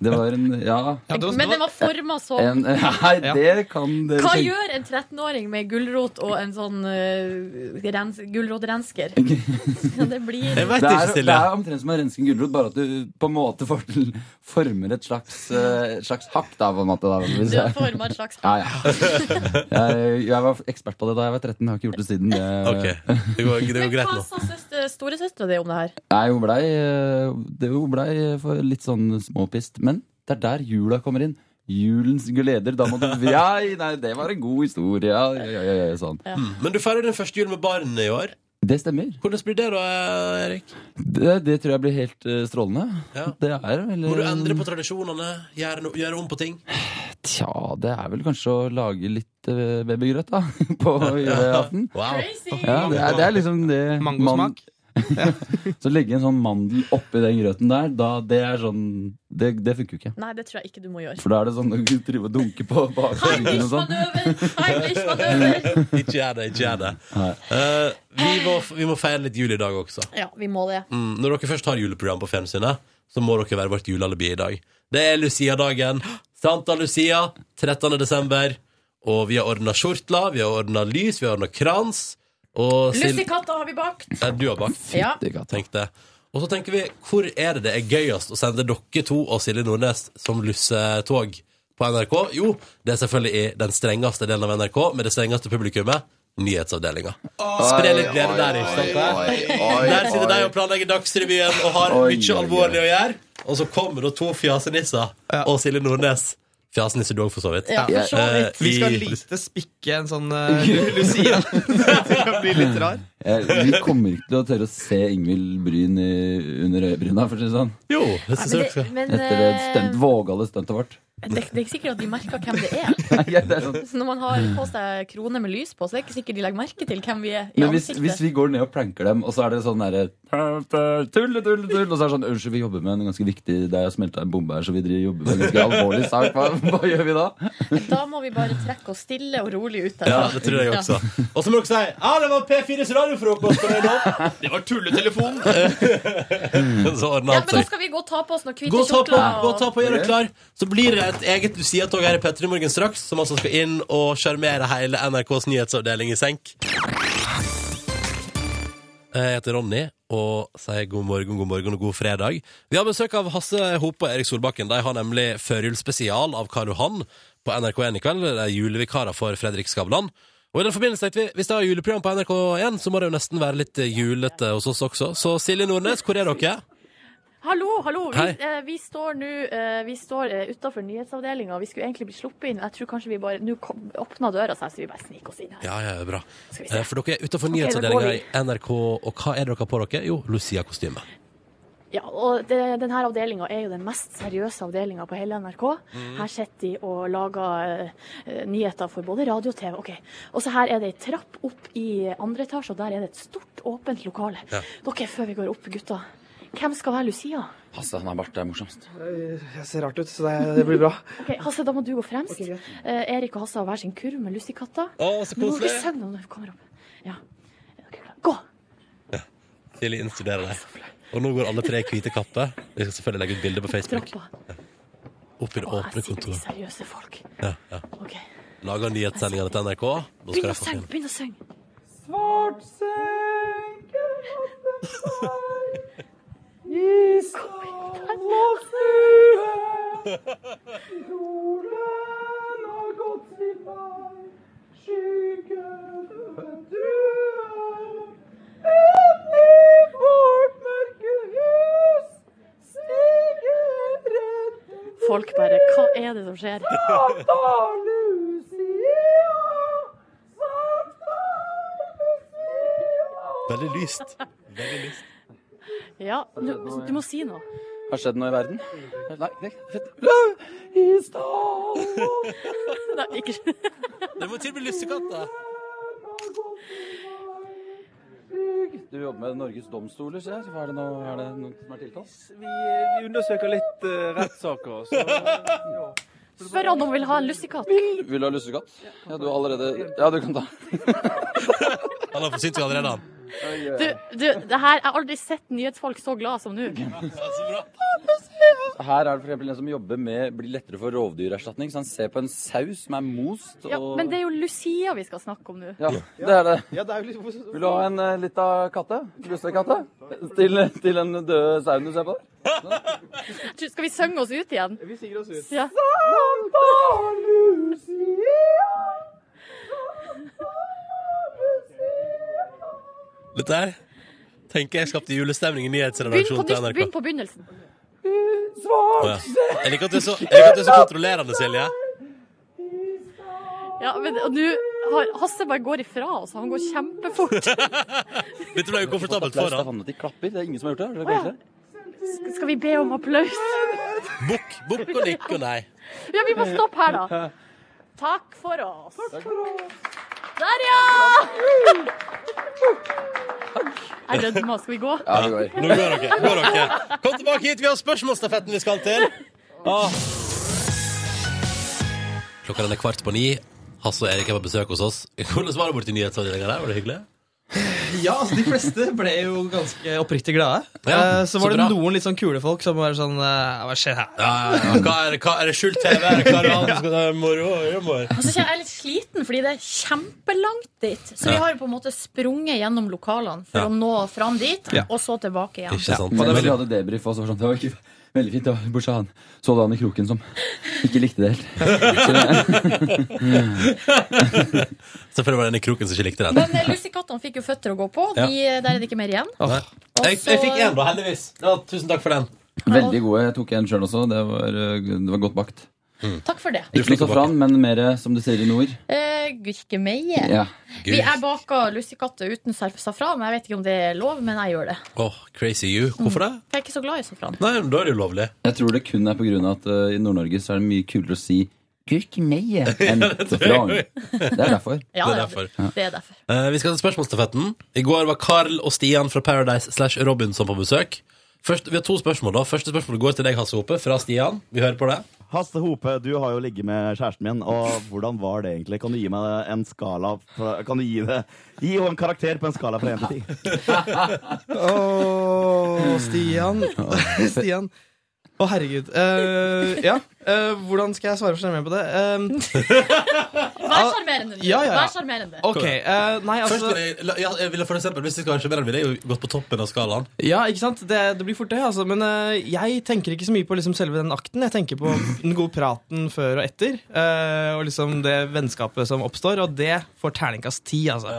Det var en Ja.
Men den var forma
en,
sånn.
Nei, det kan dere
Hva
tenke-
gjør en 13-åring med gulrot og en sånn uh, rens, gulrotrensker? det blir
det er, Det er omtrent som å renske en gulrot, bare at du på en måte får til, former et slags, eh, et slags hakk. Da, på en måte, da, hvis
Du har
jeg-
formet et slags
Ja, ja. Jeg, jeg var ekspert på det da jeg var 13, jeg har ikke gjort det siden. Det,
Men hva sa søster- storesøstera di om det her?
Nei, hun blei eh, det- hun blei for litt sånn småpist. Men det er der jula kommer inn. Julens gleder. Da må du Ja, nei, det var en god historie. Ja, ja, ja, ja, sånn.
Mm. Men du feirer din første jul med barn i år.
Det stemmer.
Hvordan blir det da, eh, Erik?
Det, det tror jeg blir helt eh, strålende. Det er vel
Må du endre på tradisjonene? Gjøre, no gjøre om på ting?
eh, Tja, det er vel kanskje å lage litt eh, babygrøt, da. På julaften.
Wow.
Ja, det er, det er liksom det man- ja. Så legge en sånn mandel oppi den grøten der, da, det er sånn Det, det funker jo ikke.
Nei, det tror jeg ikke du må gjøre.
For da er det sånn å drive og dunke på bakryggen og sånn.
ikke gjør det, ikke gjør det. Eh, vi, må, vi må feire litt jul i dag også.
Ja, vi må det.
Mm, når dere først har juleprogram på fjernsynet, så må dere være vårt julealibi i dag. Det er Lucia-dagen. Santa Lucia, 13. desember. Og vi har ordna skjortler, vi har ordna lys, vi har ordna krans. Og Sil-
Lussekatter har vi bakt.
Nei, du har bakt.
Ja.
Tenk det. Og så tenker vi, hvor er det det er gøyest å sende dere to og Silje Nordnes som lussetog på NRK? Jo, det er selvfølgelig i den strengeste delen av NRK, med det strengeste publikummet, nyhetsavdelinga. Spre litt glede der, ikke sant?
oi,
Der sitter
oi.
de og planlegger Dagsrevyen og har
Oi,
mye
oi,
alvorlig å gjøre, og så kommer da to fjasenisser og Silje Nordnes. Fjasenisse du òg, for så vidt.
Ja, for så vidt.
Eh,
Vi skal
i-
lite spikke en sånn eh, Lucia. Det kan bli litt rar.
Eh, Vi kommer ikke til å tørre å se Ingvild Bryn i, under øyebryna, for å si det sånn.
Jo,
det synes jeg Ja, men det- vi skal. men,
Etter det
eh,
stunt, vågale stuntet vårt.
Det, det er ikke sikkert at de merker hvem det er.
sånn.
Mm. Så Når man har på seg krone med lys på, så er det ikke sikkert de legger merke til hvem vi er i
Men hvis,
ansiktet.
hvis vi går ned og pranker dem, og så er det sånn derre Tulle, tulle, tulle. Og så er det sånn Unnskyld, vi jobber med en ganske viktig Det er smelta en bombe her, så vi driver jobber med en ganske alvorlig sak. Hva, hva gjør vi da?
Da må vi bare trekke oss stille og rolig ut.
Ja, det tror jeg også. Og så må dere si Ja, det var P4s radiofrokost på Røydal. Det var tulletelefon. så
Ja,
ordner
men
alt
da
seg.
skal vi gå og ta på oss noen
altså. Gå
hvite
og ta på,
kjortler.
gå og ta på gjør deg klar. Så blir det et eget Lucia-tog her i Petter i morgen straks, som altså skal inn og sjarmere hele NRKs nyhetsavdeling i senk. Jeg heter Ronny og sier god morgen, god morgen og god fredag. Vi har besøk av Hasse Hope og Erik Solbakken. De har nemlig førjulsspesial av Karo Han på NRK1 i kveld. Det er julevikarer for Fredrik Skavlan. Og i den forbindelse tenkte vi, Hvis det er juleprogram på NRK1, så må det jo nesten være litt julete hos oss også. Så Silje Nordnes, hvor er dere?
Hallo, hallo. Vi,
Hei.
eh, vi står nå eh, Vi står eh, utenfor nyhetsavdelinga. Vi skulle egentlig bli sluppet inn. Jeg tror kanskje vi bare Nå kom- åpna døra seg, så vi bare sniker oss inn her.
Ja, ja, bra.
Skal vi se.
Eh, For dere er utenfor
Ok,
nyhetsavdelinga
da går
i NRK, og hva er dere på dere? Jo, Lucia-kostyme.
Ja, og det, denne avdelinga er jo den mest seriøse avdelinga på hele NRK.
Mhm.
Her sitter de og lager eh, nyheter for både radio og TV. Ok, Og så her er det ei trapp opp i andre etasje, og der er det et stort, åpent lokale.
Ja.
Dere, før vi går opp, gutta. Hvem skal være Lucia?
Hasse, han har vært der morsomst.
Jeg ser rart ut, så det, det blir bra.
Ok, Hasse, da må du gå fremst. Eh, Erik og Hasse har hver sin kurv med lussekatter.
Å, så
Nå må
koselig.
dere synge når vi kommer opp.
Silje innstuderer deg. Og nå går alle tre i hvite kapper. Vi skal selvfølgelig legge ut bilde på Facebook. Ja. Opp i det åpne kontoret.
Seriøse folk.
Ja, ja. Lager nyhetssendingene til NRK. Nå skal de
Begynn å
få
synge!
finne.
Begynn å synge.
Svart senker hatten i stad og flue. Solen har gått sin vei, skyggene duer. Et liv vårt mørke hus stiger bredden
Folk bare Hva er det som skjer?
Santa Lucia, Santa
Veldig lyst.
Ja, du, du må si noe.
Har skjedd noe i verden? Nei, nei.
I stad
Nei, ikke
Det må til bli lussekatt, da.
Du jobber med Norges domstoler, ser jeg. Hva Er det noe, er det noe som er tiltalt?
Vi, vi undersøker litt eh, rettssaker.
sånn.
Så, ja.
Spør han om han vil ha en lussekatt.
Vil du ha lussekatt? Ja, du har allerede Ja, du kan ta.
Han har forsynt seg allerede, han.
Du, du, det her, jeg har aldri sett nyhetsfolk så glad som nå.
Her er det for eksempel en som jobber med blir lettere for rovdyrerstatning, så han ser på en saus som er most og
Ja, men det er jo Lucia vi skal snakke om nå.
Ja, det er det. Vil du ha en uh, lita katte? Lussekatte? Til, til den døde sauen du ser på?
Du, Skal vi synge oss ut igjen? Vi synger oss ut. Ja.
Dette her tenker jeg skapte julestemning i
Begynn på,
nyhetsredaksjonen til
nytt,
NRK.
begynn på begynnelsen.
Å, ja. Jeg liker at du er så, jeg liker at du er så kontrollerende, Silje.
Ja, men og nå har Hasse bare går ifra oss. Han går kjempefort.
Dette ble ukomfortabelt
Det
for
er
han.
vanlig at de klapper. Det er ingen som har gjort det. Har dere
Å, ja.
gjort det?
Sk- Skal vi be om applaus?
Bukk, bukk og nikk og nei.
Ja, vi må stoppe her, da. Takk for oss. Der, ja! Jeg rødmer. Skal vi gå?
Ja, Nå går dere. Går dere. Kom tilbake hit, vi har spørsmålsstafetten vi skal til. Åh. Klokka den er kvart på ni. Hasse og Erik er på besøk hos oss. Hvordan var det borti nyhetsavdelinga der? Var det hyggelig?
Ja, altså de fleste ble jo ganske oppriktig glade.
Ja,
Eh, så
så
var det
bra.
noen litt sånn kule folk som var sånn eh, Hva skjer her?
Hva er, det- hva er det skjult TV? Er det hva er det annet som skal ta moro? Ja, moro.
Og så kjenner jeg litt sliten, fordi det er kjempelangt dit. Så vi
Ja.
har jo på en måte sprunget gjennom lokalene for
Ja.
å nå fram dit,
Ja.
og så tilbake igjen.
Ja, Og det var vi hadde debrief også. Sånn, det var ikke veldig fint. Det var bortsett fra han så du han i kroken som ikke likte det helt. Så det-
Selvfølgelig var det den i kroken som ikke likte den.
Men eh, lussekattene fikk jo føtter å gå på. De, eh, Der er det ikke mer igjen.
Nei. Jeg, jeg fikk én, da, heldigvis. Ja, tusen takk for den.
Veldig gode. Jeg tok en sjøl også. Det var, eh, det var godt bakt.
Takk for det.
Ikke noe safran, men mer som du sier i nord.
Eh, Gurkemeie.
Ja.
Vi, jeg baker lussekatter uten saf- safran. Jeg vet ikke om det er lov, men jeg gjør det.
Åh, crazy you. Hvorfor det?
Jeg er ikke så glad i safran.
Nei, da er det ulovlig.
Jeg tror det kun er på grunn av at eh, i Nord-Norge så er det mye kulere å si gurkemeie enn safran. Det er derfor.
Ja,
Det er
ja,
derfor.
det- Det er derfor.
Eh, vi skal til spørsmålstafetten. I går var Carl og Stian fra Paradise slash Robinson på besøk. Først, vi har to spørsmål da. Første spørsmål går til deg, Hasse Hope, fra Stian. Vi hører på det.
Hasse Hope, du har jo ligget med kjæresten min, og hvordan var det egentlig? Kan du gi meg en skala fra- Kan du gi det Gi henne en karakter på en skala fra 1 til 10.
Åh, Stian. Stian. Å, herregud. Eh, ja, eh, hvordan skal jeg svare for sjarmerende på det? Ehm,
Vær sjarmerende. du.
Ah, Ja, ja, ja.
Vær sjarmerende.
Ok, eh, nei, altså-
Først, eh, la- ja, jeg ville for eksempel, hvis vi skal arrangere ville jeg jo gått på toppen av skalaen.
Eh, ja, ikke sant? Det, det blir fort det, altså. Men eh, jeg tenker ikke så mye på liksom, selve den akten. Jeg tenker på den gode praten før og etter. eh, og liksom det vennskapet som oppstår. Og det får terningkast ti, altså.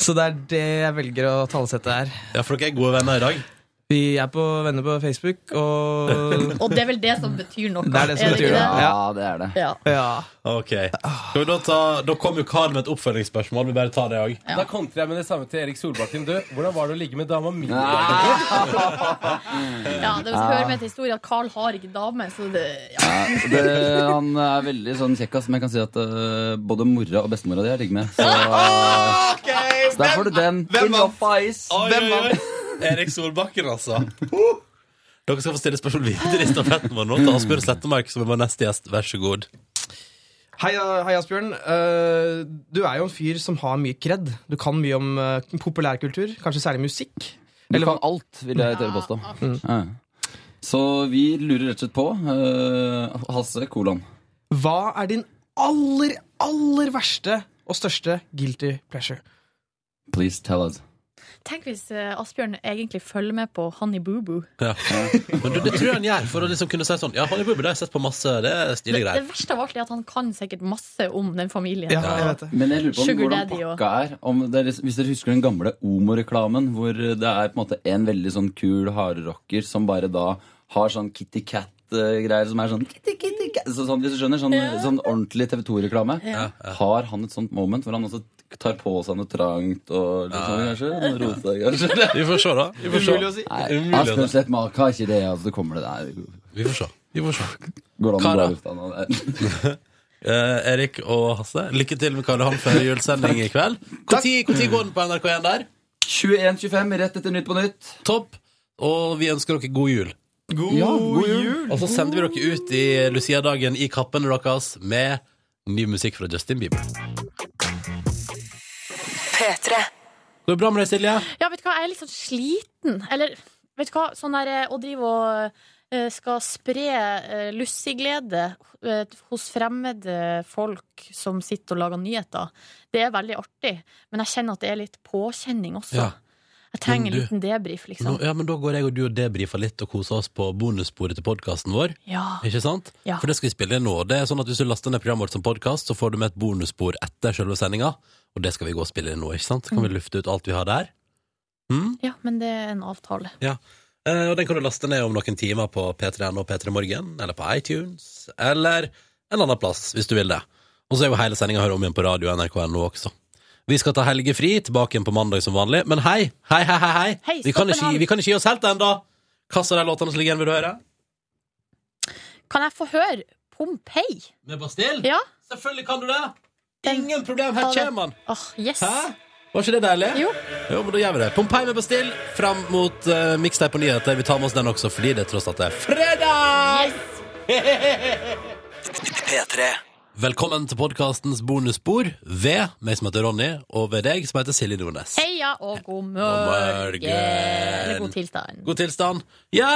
Så det er det jeg velger å tallsette her.
Ja, for dere er gode venner i dag?
Vi er på venner på Facebook, og
Og det er vel det som betyr noe.
Det er det som
ikke
betyr det.
Ja, det er det.
Ja.
Ok. Skal vi da ta Da kom jo Carl med et oppfølgingsspørsmål. Vi bare tar det òg.
Da kontrer jeg med det samme til Erik Solbakken. Du, hvordan var det å ligge med dama mi?
Ja, det
Ja.
hører med til historien at Carl har ikke dame, så det ja.
Ja, det, han er veldig sånn kjekk, ass, men jeg kan si at eh, både mora og bestemora di har ligget med. Så, så der får du den. In your face. Hvem vant?
Erik Solbakken, altså. Dere skal få stille spørsmål videre i stafetten vår nå til Asbjørn Slettemark, som er vår neste gjest. Vær så god.
Hei, eh, hei Asbjørn. Eh, du er jo en fyr som har mye kred. Du kan mye om eh, populærkultur, kanskje særlig musikk.
Du kan alt, vil jeg tørre påstå. Ja. Så vi lurer rett og slett på eh, Hasse kolon.
Hva er din aller, aller verste og største guilty pleasure?
Please tell us.
Tenk hvis eh, Asbjørn egentlig følger med på Honey Boo Boo.
Ja. Men du, det tror jeg han gjør for å liksom kunne si sånn Ja, Honey Booby, det har jeg sett på masse. Det er stilige
Det
greier.
verste av alt er at han kan sikkert masse om den familien.
Men jeg lurer på om
Sugar
hvordan
Daddy og-
pakka er. Om det er liksom- hvis dere husker den gamle Omo-reklamen, hvor det er på en måte en veldig sånn kul hardrocker som bare da har sånn Kitty Cat-greier som er sånn, kitty, kitty, cat, så sånn Hvis du skjønner, sånn, sånn ordentlig TV 2-reklame.
Ja.
Har han et sånt moment hvor han også tar på seg noe trangt og litt sånn, kanskje? Noe rosa, kanskje?
Vi får se, da. Vi får se.
Umulig å si. Nei,
Umulig å
Asbjørn
si.
Slettmark har ikke det, altså. Det kommer det der.
Vi får se. Vi får se.
Går det an å
Kara.
gå i lufta nå? der?
Eh, Erik og Hasse, lykke til med Karl Johan før julesending i kveld. Når går den på NRK1 der?
21.25, rett etter Nytt på Nytt.
Topp. Og vi ønsker dere god jul.
God, Ja, god jul.
Og så sender vi dere ut i Lucia-dagen i kappen deres med ny musikk fra Justin Bieber.
P3.
Går det bra med deg, Silje?
Ja, vet du hva, jeg er litt sånn sliten. Eller, vet du hva, sånn der eh, å drive og eh, skal spre eh, lussiglede eh, hos fremmede folk som sitter og lager nyheter. Det er veldig artig, men jeg kjenner at det er litt påkjenning også.
Ja.
Jeg
Men
trenger en
du-
liten debrief, liksom.
Nå, ja, men Da går jeg og du og debrifer litt og koser oss på bonussporet til podkasten vår.
Ja.
Ikke sant?
Ja.
For det skal vi spille inn nå. Det er sånn at Hvis du laster ned programmet vårt som podkast, så får du med et bonusspor etter selve sendinga. Og det skal vi gå og spille inn nå. ikke sant? Så kan vi lufte ut alt vi har der.
Ja, men det er en avtale.
Ja. Eh, og den kan du laste ned om noen timer på p3.no og P3 Morgen, eller på iTunes, eller en annen plass, hvis du vil det. Og så er jo hele sendinga hører om igjen på radio og nrk.no også. Vi skal ta helgefri, tilbake igjen på mandag som vanlig. Men hei, hei, hei, hei! hei.
Hei,
vi, kan
stopp en
ikke,
hal.
vi kan ikke gi oss helt ennå! Hva av de låtene som ligger igjen, vil du høre?
Kan jeg få høre Pompeii?
Med Bastille?
Ja.
Selvfølgelig kan du det! Ingen problem, her kommer han!
Åh, yes.
Var ikke det deilig? Jo. men da gjør vi det. Pompeii med Bastille fram mot uh, miksteip på nyheter. Vi tar med oss den også, fordi det er tross alt det er
Fredag! P3.
Velkommen til podkastens bonusspor ved meg som heter Ronny, og ved deg som heter Silje Nordnes.
Heia og god
morgen.
morgen. Eller god tilstand.
God tilstand? Ja!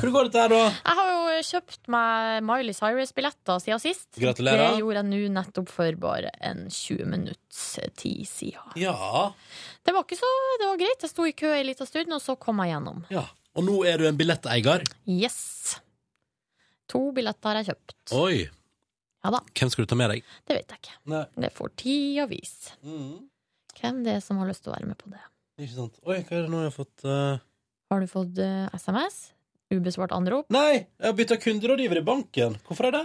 Hvordan går dette her, da?
Jeg har jo eh, kjøpt meg Miley Cyrus-billetter siden sist.
Gratulerer.
Det gjorde jeg nå nettopp for bare en 20 minutts eh, tid siden.
Ja.
Det var ikke så det var greit. Jeg sto i kø en liten stund, og så kom jeg gjennom.
Ja. Og nå er du en billetteier.
Yes. To billetter har jeg kjøpt.
Oi.
Ja da.
Hvem skal du ta med deg?
Det vet jeg ikke.
Nei.
Det får tid å vise hvem det er som har lyst til å være med på det.
Mm, Ikke sant. Oi, hva er det nå jeg har fått eh,
Har du fått eh, SMS? Ubesvart anrop?
Nei! Jeg har bytta kunderådgiver i banken. Hvorfor er det?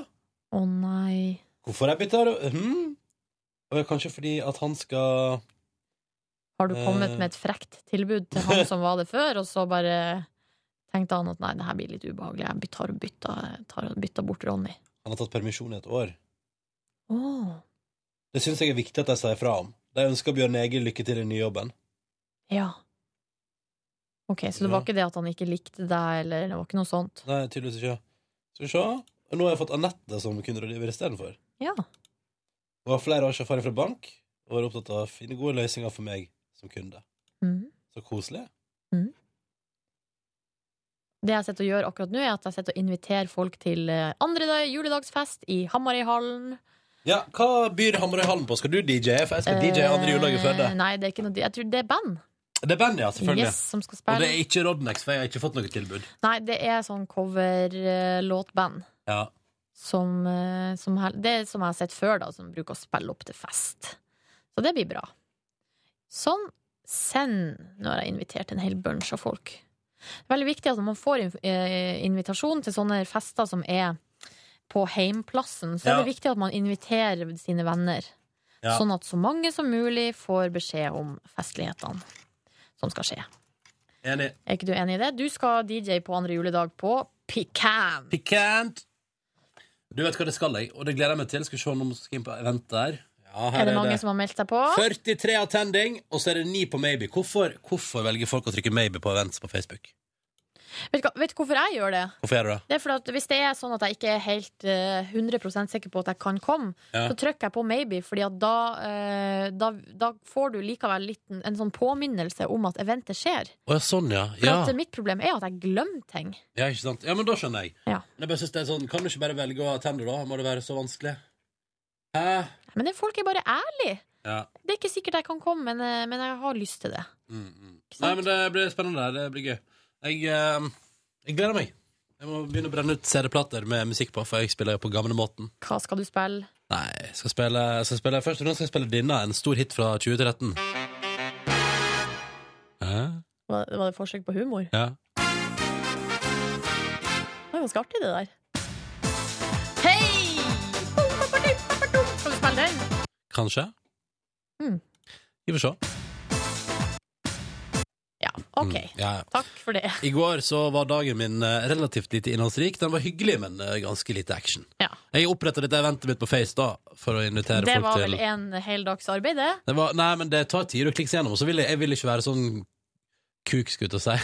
Å nei.
Hvorfor jeg bytter hmm? Og Kanskje fordi at han skal
Har du kommet
Eh.
med et frekt tilbud til han som var det før, og så bare tenkte han at nei, det her blir litt ubehagelig, jeg by- tar og bytter, tar og bytter bort Ronny.
Han har tatt permisjon i et år.
Åh
Det syns jeg er viktig at de sier fra om. De ønsker Bjørn Egil lykke til i den nye jobben.
Ja. Ok, så det var ikke det at han ikke likte deg, eller det var ikke noe sånt?
Nei, tydeligvis ikke. Skal vi se. Nå har jeg fått Anette som kunderådgiver istedenfor.
Ja.
Hun har flere års erfaring fra bank og er opptatt av å finne gode løsninger for meg som kunde.
Mhm.
Så koselig.
Det jeg sitter og gjør akkurat nå, er at jeg sitter og inviterer folk til eh, andre dag, juledagsfest i Hamarøyhallen.
Ja, hva byr Hamarøyhallen på? Skal du DJ-e? For jeg skal DJ-e andre juledag i Førde.
Eh, Nei, det er ikke noe Jeg tror det er band.
Det er bandet, ja, selvfølgelig.
Yes, som skal
og
spille.
det er ikke Rodnex, for jeg har ikke fått noe tilbud.
Nei, det er sånn eh, coverlåtband.
Ja.
Som, eh, som hel- Det som jeg har sett før, da, som bruker å spille opp til fest. Så det blir bra. Sånn. Send. Nå har jeg invitert en hel bunch av folk. Det er veldig viktig at når man får inv- eh, invitasjon til sånne fester som er på heimplassen, så er det
Ja.
viktig at man inviterer sine venner.
Ja.
Sånn at så mange som mulig får beskjed om festlighetene som skal skje.
Enig.
Er ikke du enig i det? Du skal DJ på andre juledag på Pican.
Pikant! Du vet hva det skal, jeg, og det gleder jeg meg til. Skal vi se om vi skal inn på event der. Ja, her
Er det mange som har meldt seg på?
43 attending, og så er det 9 på Maybe. Hvorfor, hvorfor velger folk å trykke Maybe på events på Facebook?
Vet du hva- vet du hvorfor jeg gjør det?
Hvorfor gjør du det?
Det er fordi at Hvis det er sånn at jeg ikke er helt eh, 100 sikker på at jeg kan komme,
Ja.
så trykker jeg på maybe, Fordi at da, eh, da, da får du likevel litt en, en sånn påminnelse om at eventet skjer.
Å ja, sånn, ja.
For
Ja.
at eh, mitt problem er at jeg glemmer ting.
ja, ikke sant? Ja, men da skjønner jeg.
Ja.
Men Jeg bare synes det er sånn, Kan du ikke bare velge å attende, da? Må det være så vanskelig? Hæ?
Men det, folk er bare ærlige.
Ja.
Det er ikke sikkert jeg kan komme, men, eh, men jeg har lyst til det.
Mm, mm. Nei, men det blir spennende. Det blir gøy. Jeg, eh, jeg gleder meg. Jeg må begynne å brenne ut CD-plater med musikk på, for jeg spiller jo på gamlemåten.
Hva skal du spille?
Nei, jeg skal spille, jeg skal spille først og fremst skal jeg spille denne, en stor hit fra 2013. Hæ?
Var, var det forsøk på humor?
Ja.
Det var ganske artig, det der. Hei! Skal du spille den?
Kanskje?
Mm.
Vi får se.
Ja, OK.
Mm, ja, ja.
Takk for det.
I går så var dagen min eh, relativt lite innholdsrik. Den var hyggelig, men eh, ganske lite action.
Ja.
Jeg oppretta dette eventet mitt på Face da, for å invitere
Det
folk
var
til
vel en heldags arbeid, det.
det var, Nei, men det tar tid å klikke seg gjennom. Og så vil jeg, jeg vil ikke være sånn kuk, skulle jeg til å si.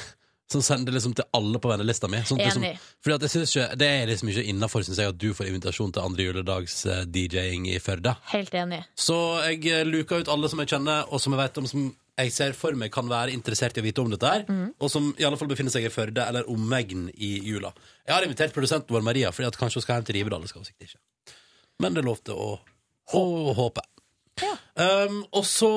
Som sender liksom til alle på vennelista mi. Sånn, at liksom,
Enig.
fordi at jeg synes ikke, Det er liksom ikke innafor, syns jeg, at du får invitasjon til andre juledags eh, DJ-ing i Førde.
Helt enig.
Så jeg eh, luka ut alle som jeg kjenner, og som jeg vet om som jeg ser for meg kan være interessert i å vite om dette her,
Mhm.
og som i alle fall befinner seg i Førde eller omegn i jula. Jeg har invitert produsenten vår Maria, fordi at kanskje hun skal hjem til Rivedal. det Skal hun sikkert ikke. Men det lovte å, å håpe. Um, og så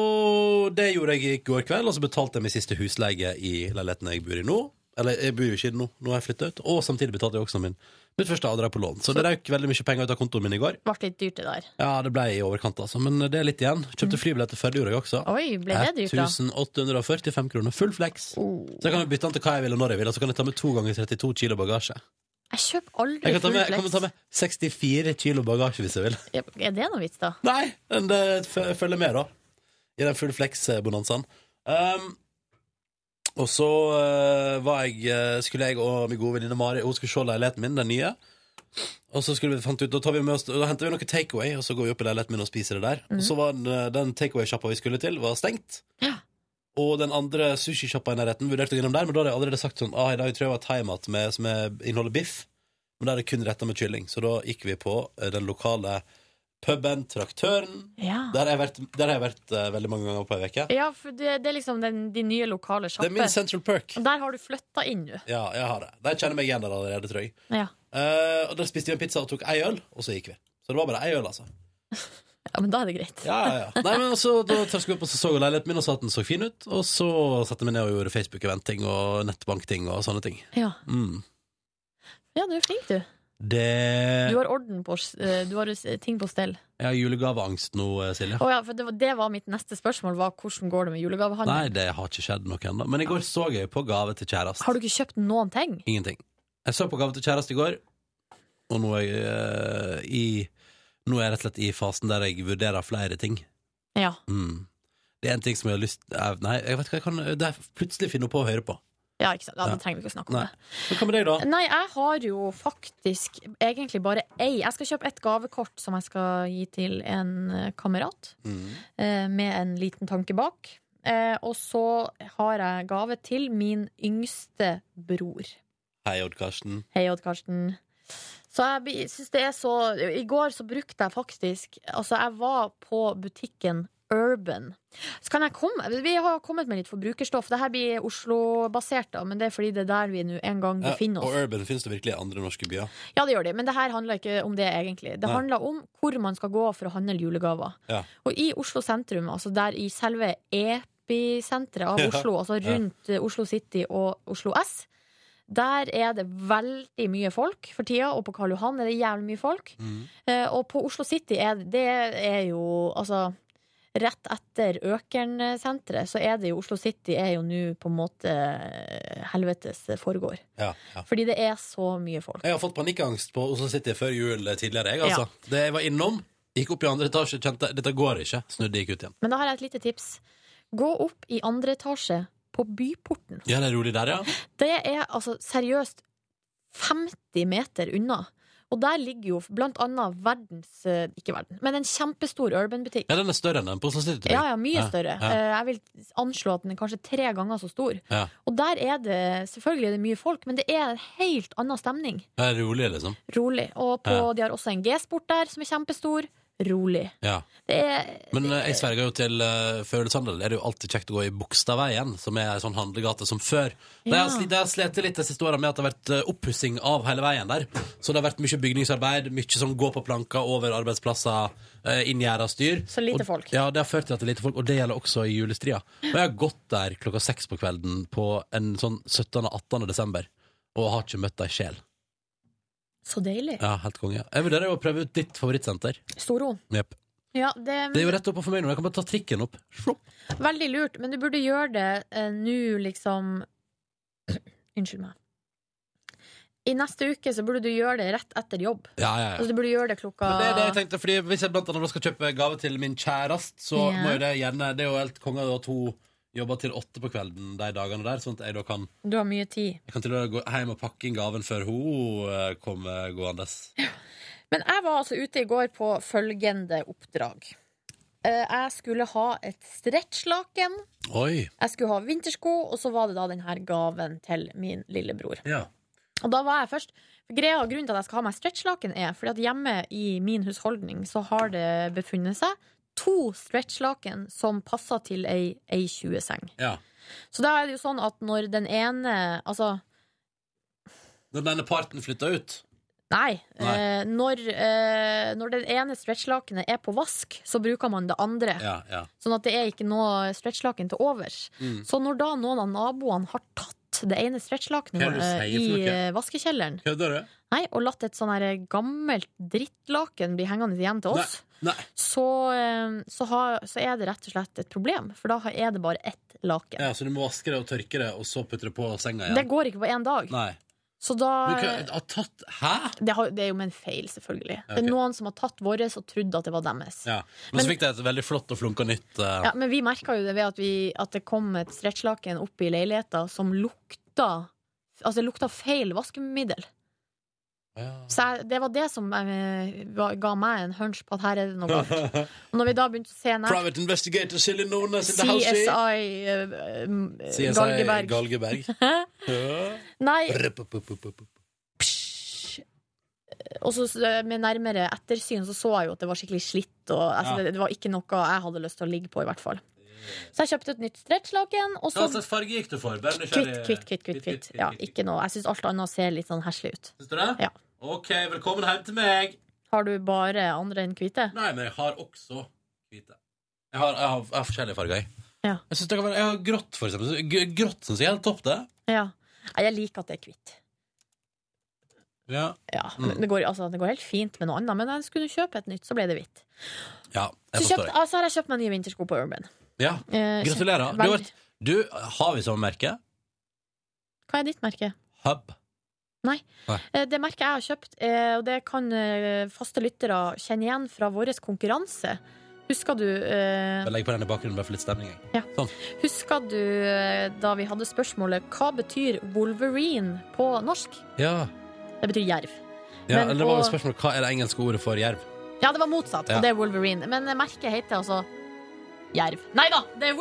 Det gjorde jeg i går kveld, og så betalte jeg min siste husleie i leiligheten jeg bor i nå. Eller jeg bor jo ikke i den nå, nå har jeg flyttet ut. Og samtidig betalte jeg også min, mitt første avdrag på lån. Så det røk veldig mye penger ut av kontoen min i går.
Ble litt dyrt, det der.
Ja, det ble i overkant, altså. Men det er litt igjen. Kjøpte flybillett til Førde, gjorde jeg også.
Oi, ble det dyrt, da? Oh.
1845 kroner. Full flex. Så jeg kan jo bytte den til hva jeg vil og når jeg vil, og så kan jeg ta med to ganger 32 kilo bagasje.
Jeg kjøper aldri
Jeg kan ta med, jeg
full
kan ta
flex.
med 64 kilo bagasje hvis jeg vil.
Ja, Er det noe vits, da?
Nei, men det f- følger med, da. I den full flex-bonanzaen. Um, og så eh, var jeg, eh, skulle jeg og min gode venninne Mari Hun skulle se leiligheten min, den nye. Og så skulle vi fant ut, da, tar vi med oss, da henter vi noe takeaway, og så går vi opp i leiligheten min og spiser det der.
Mhm.
Og så var den, eh, den takeaway-sjappa vi skulle til, var stengt. Og den andre sushisjappa i nærheten vurderte å gå innom der, men da hadde jeg allerede sagt sånn ah, i dag tror jeg var thaimat med- som er- inneholder biff. Men da er det kun retta med kylling. Så da gikk vi på eh, den lokale puben Traktøren.
Ja.
Der har jeg vært, der har jeg vært eh, veldig mange ganger på ei uke.
Ja, for det, det er liksom den, de nye lokale
Det
sjappe.
er min Central Perk.
Og der har du flytta inn, du.
Ja, jeg har det. Der kjenner jeg meg igjen der allerede, tror jeg.
Ja.
Eh, og Der spiste vi en pizza og tok ei øl, og så gikk vi. Så det var bare ei øl, altså.
ja, men da er det greit.
Ja, ja, ja. Nei, men altså, Da trasket vi opp og så så jeg leiligheten min og sa at den så fin ut. Og så satte jeg meg ned og gjorde Facebook-event-ting og nettbank-ting og sånne ting.
Ja.
Mm.
Ja, du er flink, du.
Det
Du har orden på s- eh, Du har s- ting på stell.
Jeg har julegaveangst nå, eh, Silje.
Å ja, for det, var, det var mitt neste spørsmål. Var, hvordan går det med
Nei,
julegavehandelen?
det har ikke skjedd noe ennå. Men i går så jeg på gave til kjæreste.
Har du ikke kjøpt noen ting?
Ingenting. Jeg så på gave til kjæreste i går. Og nå er jeg eh, i Nå er jeg rett og slett i fasen der jeg vurderer flere ting.
Ja.
Mm. Det er en ting som jeg har lyst eh, Nei, jeg vet hva jeg kan Det er plutselig finne på å høre på.
Ja, ikke sant? Ja,
Ja.
Da trenger vi ikke å snakke om
Nei.
det.
Men hva med deg, da?
Nei, jeg har jo faktisk egentlig bare ei. Jeg skal kjøpe et gavekort som jeg skal gi til en eh, kamerat,
Mm.
eh, med en liten tanke bak. Eh, Og så har jeg gave til min yngste bror.
Hei, Odd Karsten.
Hei, Odd Karsten. Så jeg blir- synes det er så I går så brukte jeg faktisk Altså, jeg var på butikken Urban. Så kan jeg komme Vi har kommet med litt forbrukerstoff. Dette blir Oslo-basert, da, men det er fordi det er der vi nå en gang
Ja,
befinner
og
oss.
Urban finnes det virkelig i andre norske byer.
Ja, det gjør de, men det her handler ikke om det, egentlig. Det
Nei.
handler om hvor man skal gå for å handle julegaver.
Ja.
Og i Oslo sentrum, altså der i selve episenteret av
Ja.
Oslo, altså
Ja.
rundt eh, Oslo City og Oslo S, der er det veldig mye folk for tida, og på Karl Johan er det jævlig mye folk. Eh, Og på Oslo City er det, det er jo altså Rett etter Økernsenteret så er det jo Oslo City er jo nå på en måte eh, helvetes foregår.
Ja, ja.
Fordi det er så mye folk.
Jeg har fått panikkangst på Oslo City før jul tidligere. Jeg, altså. Det jeg var innom, gikk opp i andre etasje, kjente dette går ikke. Snudde, gikk ut igjen.
Men da har jeg et lite tips. Gå opp i andre etasje på Byporten.
Ja, det er rolig der, ja.
Det er altså seriøst 50 meter unna. Og der ligger jo blant annet verdens eh, Ikke verden, men en kjempestor urban-butikk.
Ja, den er større enn den på Oslo City. tror jeg.
Ja, ja, mye større.
Ja,
Eh,
ja.
Jeg vil anslå at den er kanskje tre ganger så stor.
ja.
Og der er det selvfølgelig er det mye folk, men det er en helt annen stemning.
Det er rolig, liksom.
Rolig. Og på,
Ja.
de har også en G-sport der som er kjempestor. Rolig.
Ja.
Det er
Men eh, jeg sverger jo til uh, Følelshandel er det jo alltid kjekt å gå i Bogstadveien, som er ei sånn handlegate som før.
Ja.
Det har sli- det har slitt litt de siste åra med at det har vært uh, oppussing av hele veien der. Så det har vært mye bygningsarbeid, mye som går på planker, over arbeidsplasser, uh, inngjerda styr.
Så lite
og,
folk.
Ja, det har ført til at det er lite folk, og det gjelder også i julestria. Og jeg har gått der klokka seks på kvelden på en sånn 17.-18. desember, og har ikke møtt ei sjel.
så deilig.
Ja, helt konge. Jeg vurderer å prøve ut ditt favorittsenter.
Storo.
Jepp.
Ja, det,
Det er jo rett opp for meg nå. Jeg kan bare ta trikken opp.
Veldig lurt, men du burde gjøre det eh, nå, liksom Unnskyld meg. I neste uke så burde du gjøre det rett etter jobb.
Ja, ja, ja.
Altså, du burde gjøre det klokka
Men det er det jeg tenkte, fordi Hvis jeg blant annet skal kjøpe gave til min kjærest, så
Ja.
må jo det gjerne Det er jo helt konge at hun jobber til åtte på kvelden de dagene der, sånn at jeg da kan
Du har mye tid.
Jeg kan til og med gå hjem og pakke inn gaven før hun eh, kommer gående.
Men jeg var altså ute i går på følgende oppdrag. Eh, Jeg skulle ha et stretchlaken,
Oi.
jeg skulle ha vintersko, og så var det da denne gaven til min lillebror.
Ja.
Og da var jeg først Greia og grunnen til at jeg skal ha meg stretchlaken, er fordi at hjemme i min husholdning så har det befunnet seg to stretchlaken som passer til ei, ei 20-seng.
Ja.
Så da er det jo sånn at når den ene Altså,
Når denne parten flytter ut.
nei.
Nei.
Eh, når, eh, når den ene stretchlakenet er på vask, så bruker man det andre.
Ja, ja.
Sånn at det er ikke noe stretchlaken til overs.
Mm.
Så når da noen av naboene har tatt det ene
Hva er
stretchlakenet
det du
eh,
sier
i
for noe?
eh, vaskekjelleren
Kødder du?
Nei, og latt et sånn her gammelt drittlaken bli hengende igjen til oss,
Nei.
så, eh, så, har, så er det rett og slett et problem. For da er det bare ett laken.
Ja, så du må vaske det og tørke det, og så putte det på senga
Det
igjen?
går ikke på én dag.
Nei.
Så da
Men hva- har tatt Hæ?!
det, har, det er jo med en feil, selvfølgelig.
Ok.
Det er noen som har tatt vår og trodd at det var deres.
Ja. Men, så fikk det et veldig flott og flunka nytt. eh,
Ja, men vi merka jo det ved at, vi, at det kom et stretchlaken opp i leiligheta som lukta Altså, det lukta feil vaskemiddel. Så jeg, det var det som eh, ga ga meg en hunch på at her er det noe galt. Og når vi da begynte å se nær
Private investigator Silje Nordnes in the house.
CSI
eh?
eh, m-
CSI
Galgeberg.
Galgeberg. Ja.
Nei.
Rup-up-up-up-up.
Og så eh, med nærmere ettersyn så så jeg jo at det var skikkelig slitt, og altså,
Ja.
det, det var ikke noe jeg hadde lyst til å ligge på, i hvert fall. Så jeg kjøpte et nytt stretchlaken, og
Hva
så
slags farge gikk du for? Bare
Kvitt,
nysgjerrig-
Sånn. kvitt, kvitt, kvitt, kvitt. Ja, ikke noe. Jeg syns alt annet ser litt sånn heslig ut.
Syns du det?
Ja.
OK, velkommen hjem til meg.
Har du bare andre enn hvite?
Nei, men jeg har også hvite. Jeg har, jeg har, jeg har forskjellige farger, jeg.
Ja.
Jeg, synes det kan være, jeg har grått, for eksempel. Så gr- Grått syns jeg er helt topp, det.
Ja. Nei, jeg liker at det er hvitt.
Ja.
Ja,
Mm.
men det, går, altså, det går helt fint med noe annet, men jeg skulle kjøpe et nytt, så ble det hvitt.
ja
Så,
jeg
kjøpt,
forstår.
altså, har jeg kjøpt meg nye vintersko på Urban.
Ja.
Eh,
Gratulerer.
kjempe-
Du, har vært- du, har vi samme merke?
Hva er ditt merke?
Hub.
Nei. Eh, Det merket jeg har kjøpt, eh, og det kan eh, faste lyttere kjenne igjen fra vår konkurranse. Husker du, eh,
Jeg legger på den i bakgrunnen bare for litt stemning. jeg.
husker du eh, da vi hadde spørsmålet 'Hva betyr Wolverine på norsk?'
Ja,
Det betyr jerv.
ja
Men
eller det var jo
på-
spørsmålet hva er det engelske ordet for jerv?
Ja, det var motsatt,
Ja.
og det er Wolverine. Men merket heter altså Jerv. Nei da, det er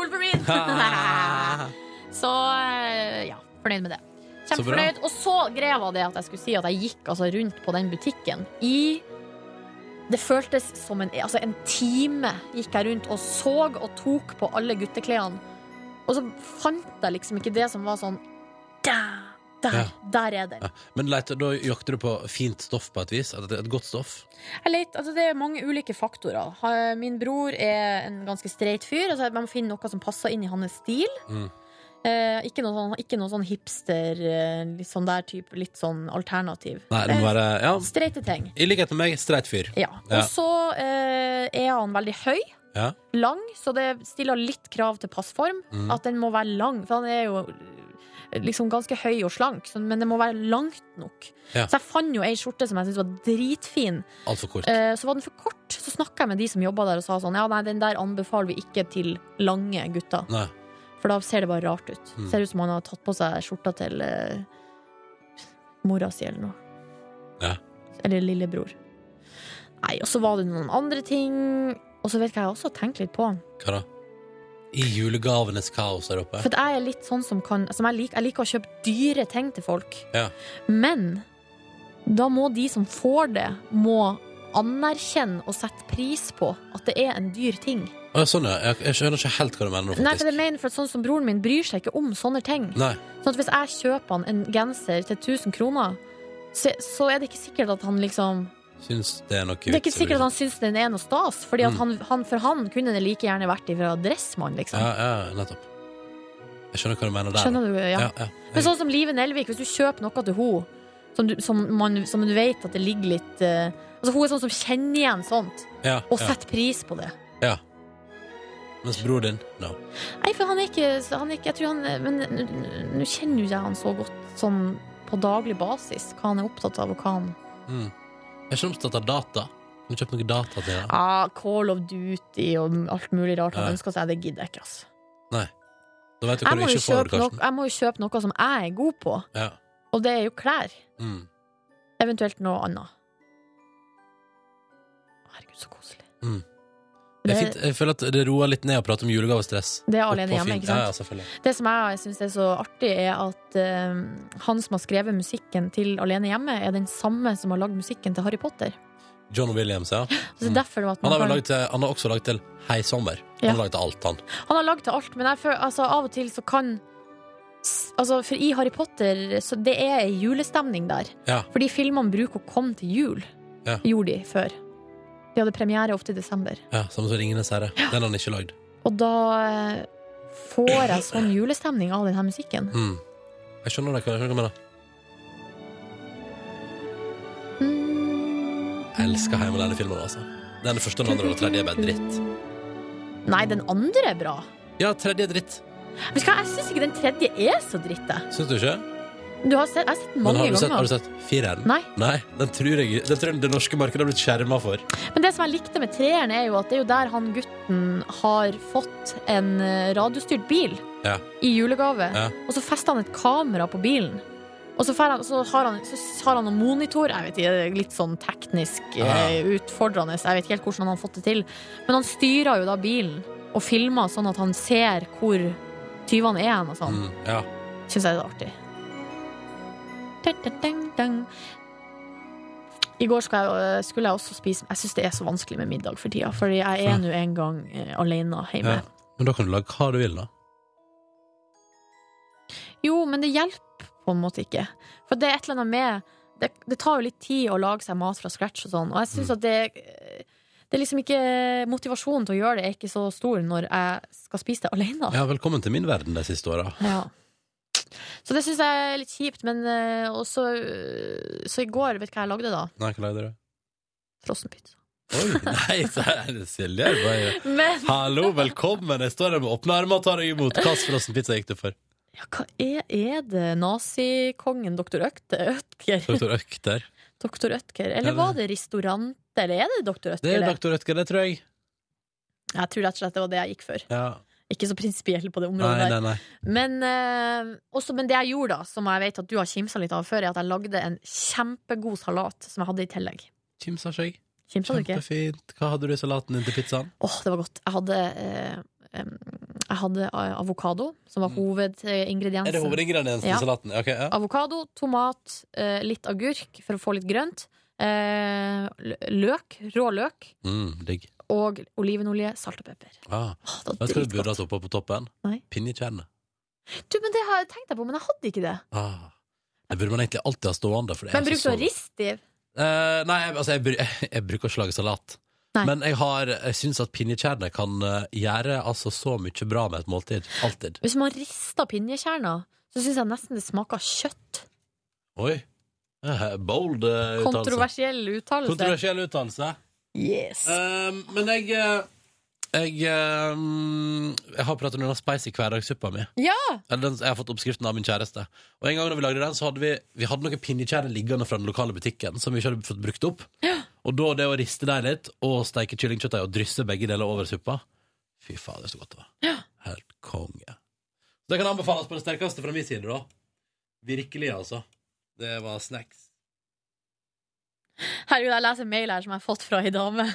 Wolverine! så eh, ja, fornøyd med det.
Så bra.
Kjempefornøyd. Og så greia var det at jeg skulle si at jeg gikk altså rundt på den butikken i det føltes som en, altså en time gikk jeg rundt og så og tok på alle gutteklærne. Og så fant jeg liksom ikke det som var sånn Der! Der,
Ja.
der er den.
Ja. Men leite, da jakter du på fint stoff på et vis? Et, et godt stoff?
Jeg let, altså det er mange ulike faktorer. Ha- Min bror er en ganske streit fyr. Altså man må finne noe som passer inn i hans stil.
Mm.
Eh, ikke noe sånn, ikke noe sånn hipster, eh, litt sånn der type, litt sånn alternativ.
Nei, det må
Eh,
være ja.
Streite ting.
I likhet med meg, streit fyr.
Ja.
Ja.
Og så eh, er han veldig høy,
Ja.
lang, så det stiller litt krav til passform.
Mm.
At den må være lang, for han er jo eh, liksom ganske høy og slank, så- men det må være langt nok.
Ja.
Så jeg fant jo ei skjorte som jeg syntes var dritfin.
Altfor kort.
Eh, Så var den for kort. Så snakka jeg med de som jobba der og sa sånn Ja, nei, den der anbefaler vi ikke til lange gutter.
Nei.
For da ser det bare rart ut.
Mm.
Ser ut som han har tatt på seg skjorta til eh, mora si eller noe.
Ja.
Eller lillebror. Nei, og så var det noen andre ting. Og så vet jeg hva jeg også har tenkt litt på.
Hva da? I julegavenes kaos der oppe?
For at jeg er litt sånn som kan som jeg, liker, jeg liker å kjøpe dyre ting til folk.
Ja.
Men da må de som får det, må anerkjenne og sette pris på at det er en dyr ting.
Å, ja, sånn, ja. Jeg, jeg skjønner ikke helt hva du mener nå,
Nei, for
faktisk.
jeg mener for at sånn som broren min bryr seg ikke om sånne ting.
Nei.
Sånn at hvis jeg kjøper han en genser til 1000 kroner, så, så er det ikke sikkert at han liksom
Syns det er noe
Det er ikke
vits i
sikkert at han syns den er noe stas, Fordi at
Mm.
han, han, for han kunne det like gjerne vært ifra Dressmann, liksom.
Ja, ja, nettopp. Jeg skjønner hva du mener der.
Skjønner du, ja.
ja, ja.
Men sånn som Live Nelvik, hvis du kjøper noe til henne som, du- som, man- som du vet at det ligger litt eh, Altså Hun er sånn som kjenner igjen sånt,
Ja,
og
ja.
setter pris på det.
Ja. Mens bror din, no.
Nei, for han er ikke, han er ikke Jeg tror han Men nå- nå- nå kjenner jo ikke jeg han så godt sånn på daglig basis, hva han er opptatt av, og hva han
Mm. Jeg er ikke opptatt av data. Har du kjøpt noe data til det?
Ja, Call of Duty og alt mulig rart han
Nei.
ønsker seg, det gidder jeg ikke, altså.
Nei. Da vet du hva
Jeg
du
må, jo
ikke får,
kjøpe noe,
Karsten.
jeg må jo kjøpe noe som jeg er god på,
Ja.
og det er jo klær.
Mm.
Eventuelt noe annet. Herregud, så koselig.
Mm. Det er fint. Jeg føler at det roer litt ned å prate om julegavestress.
Det er
Oppå
alene hjemme,
fin-
ikke sant?
Ja, ja, selvfølgelig.
Det som jeg syns er så artig, er at eh, han som har skrevet musikken til Alene hjemme, er den samme som har lagd musikken til Harry Potter.
John Williams, ja. Mm.
Så det er derfor det var at
Han
man
har, vel
kan-
laget, til- han har også lagd til Hei sommer. Han
Ja.
har laget til alt, han.
Han har lagd til alt, men jeg føler, altså, av og til så kan s- Altså, for i Harry Potter så det er ei julestemning der.
Ja.
Fordi filmene bruker å komme til jul,
Ja.
gjorde de før. De hadde premiere ofte i desember.
ja Samme som Ringenes herre. Den har han ikke lagd.
Og da eh, får jeg sånn julestemning av denne musikken.
Mm. Jeg skjønner det, hva jeg skjønner hva du mener.
Mm,
Jeg elsker Heim alene filmen altså. Den første, den andre og den tredje er bare dritt.
Nei, den andre er bra.
Ja, tredje er dritt.
Vet du hva, jeg syns ikke den tredje er så dritt, jeg.
Syns du ikke?
Du har sett, jeg har sett
Men
den mange
har du sett,
ganger.
har du sett fireren?
Nei.
den, tror jeg, den tror jeg det norske markedet har blitt skjerma for.
Men det som jeg likte med treeren, er jo at det er jo der han gutten har fått en eh, radiostyrt bil.
Ja.
i julegave.
Ja.
Og så fester han et kamera på bilen. Og så, fer han, så, har, han, så har han en monitor. Jeg vet ikke, det er Litt sånn teknisk eh, utfordrende. Jeg vet ikke helt hvordan han har fått det til. Men han styrer jo da bilen og filmer sånn at han ser hvor tyvene er hen og sånn.
Mm, ja.
Syns jeg er artig. Dun, dun, dun, dun. I går skal jeg, øh, skulle jeg også spise Jeg syns det er så vanskelig med middag for tida, fordi jeg er nå en gang eh, alene hjemme.
ja. Men da kan du lage hva du vil, da.
Jo, men det hjelper på en måte ikke. For det er et eller annet med Det, det tar jo litt tid å lage seg mat fra scratch og sånn, og jeg syns
Mm.
at det det er liksom ikke Motivasjonen til å gjøre det er ikke så stor når jeg skal spise det alene.
Ja, velkommen til min verden de siste åra.
Ja. Så det syns jeg er litt kjipt, men eh, også eh, Så i går, vet du hva jeg lagde da?
Nei, hva lagde du?
Frossenpizza.
Oi, nei, se- Silje er bare
Men-
Hallo, velkommen! Jeg står her med åpne armer og tar deg imot. Hva slags frossen pizza gikk du for?
Ja, hva er, er det nazikongen doktor Økte? Ødger?
Doktor Økter.
Doktor Ødger. Eller var det Ristorante, eller er det doktor
Det
Ødger?
er doktor Ødger, det tror jeg.
Jeg tror rett og slett det var det jeg gikk for.
Ja.
Ikke så prinsipiell på det
Nei,
området. der.
nei, nei.
Men, eh, også, men det jeg gjorde, da, som jeg vet at du har kimsa litt av før, er at jeg lagde en kjempegod salat som jeg hadde i tillegg.
Kimsa ikke jeg.
Kimsa du ikke?
Kjempefint. Hva hadde du i salaten din til pizzaen?
Åh, det var godt. Jeg hadde, eh, em, jeg hadde eh, avokado, som var
Mm.
hovedingrediensen.
Er det hovedingrediensen
Ja.
i salaten? Ok, ja.
Avokado, tomat, eh, litt agurk for å få litt grønt. Eh, lø- løk, rå løk,
Mm, digg.
og olivenolje, salt og pepper.
Ah.
det var
Vet du hva du burde hatt oppå på toppen?
Nei.
Pinnekjernet.
Du, men Det har jeg tenkt deg på, men jeg hadde ikke det.
Ah. Det burde man egentlig alltid ha stående. For det er
Men
altså
brukte
så
du å riste i?
Eh, nei, altså jeg, bru- jeg bruker ikke å lage salat.
Nei.
Men jeg, har- jeg syns at pinnekjerner kan eh, gjøre altså så mye bra med et måltid. Alltid.
Hvis man rister pinjekjerner, så syns jeg nesten det smaker kjøtt.
Oi. Eh, Bold eh, uttalelse.
Kontroversiell uttalelse.
Kontroversiell uttalelse.
Yes.
Eh, men jeg eh, jeg, eh, jeg har pratet om denne spicy hverdagssuppa mi.
Ja!
Eller den, jeg har fått oppskriften av min kjæreste. Og en gang da vi lagde den, så hadde vi, vi hadde noen pinnekjerner liggende fra den lokale butikken som vi ikke hadde fått brukt opp. Og da det å riste deg litt og steike kyllingkjøttdeig og drysse begge deler over suppa Fy fader, så godt det var. Helt konge. Så det kan anbefales på det sterkeste fra min side, da. Virkelig, altså. Det var snacks.
Herregud, jeg leser mail her som jeg har fått fra ei dame.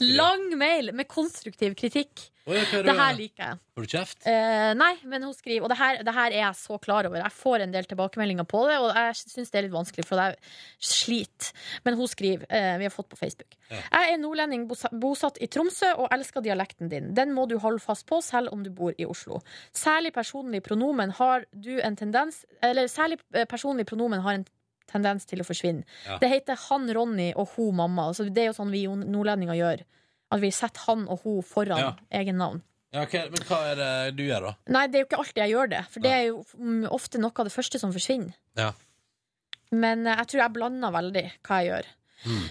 Lang mail med konstruktiv kritikk.
Oi, hva er det-
Det her liker jeg.
Får du kjeft?
Eh, nei, men hun skriver Og det her, det her er jeg så klar over. Jeg får en del tilbakemeldinger på det, og jeg syns det er litt vanskelig, for jeg sliter. Men hun skriver, eh, vi har fått på Facebook. Jeg er nordlending bosa- bosatt i Tromsø og elsker dialekten din. Den må du holde fast på selv om du bor i Oslo. Særlig personlig pronomen har du en tendens Eller særlig eh, personlig pronomen har en tendens til å forsvinne.
Ja.
Det heter han Ronny og ho mamma. Altså, det er jo sånn vi jo nordlendinger gjør. At vi setter han og ho foran
Ja.
egen navn.
Ja, ok, Men hva er det du gjør, da?
Nei, det er jo ikke alltid jeg gjør det, for det er jo mm, ofte noe av det første som forsvinner.
Ja.
Men eh, jeg tror jeg blander veldig hva jeg gjør.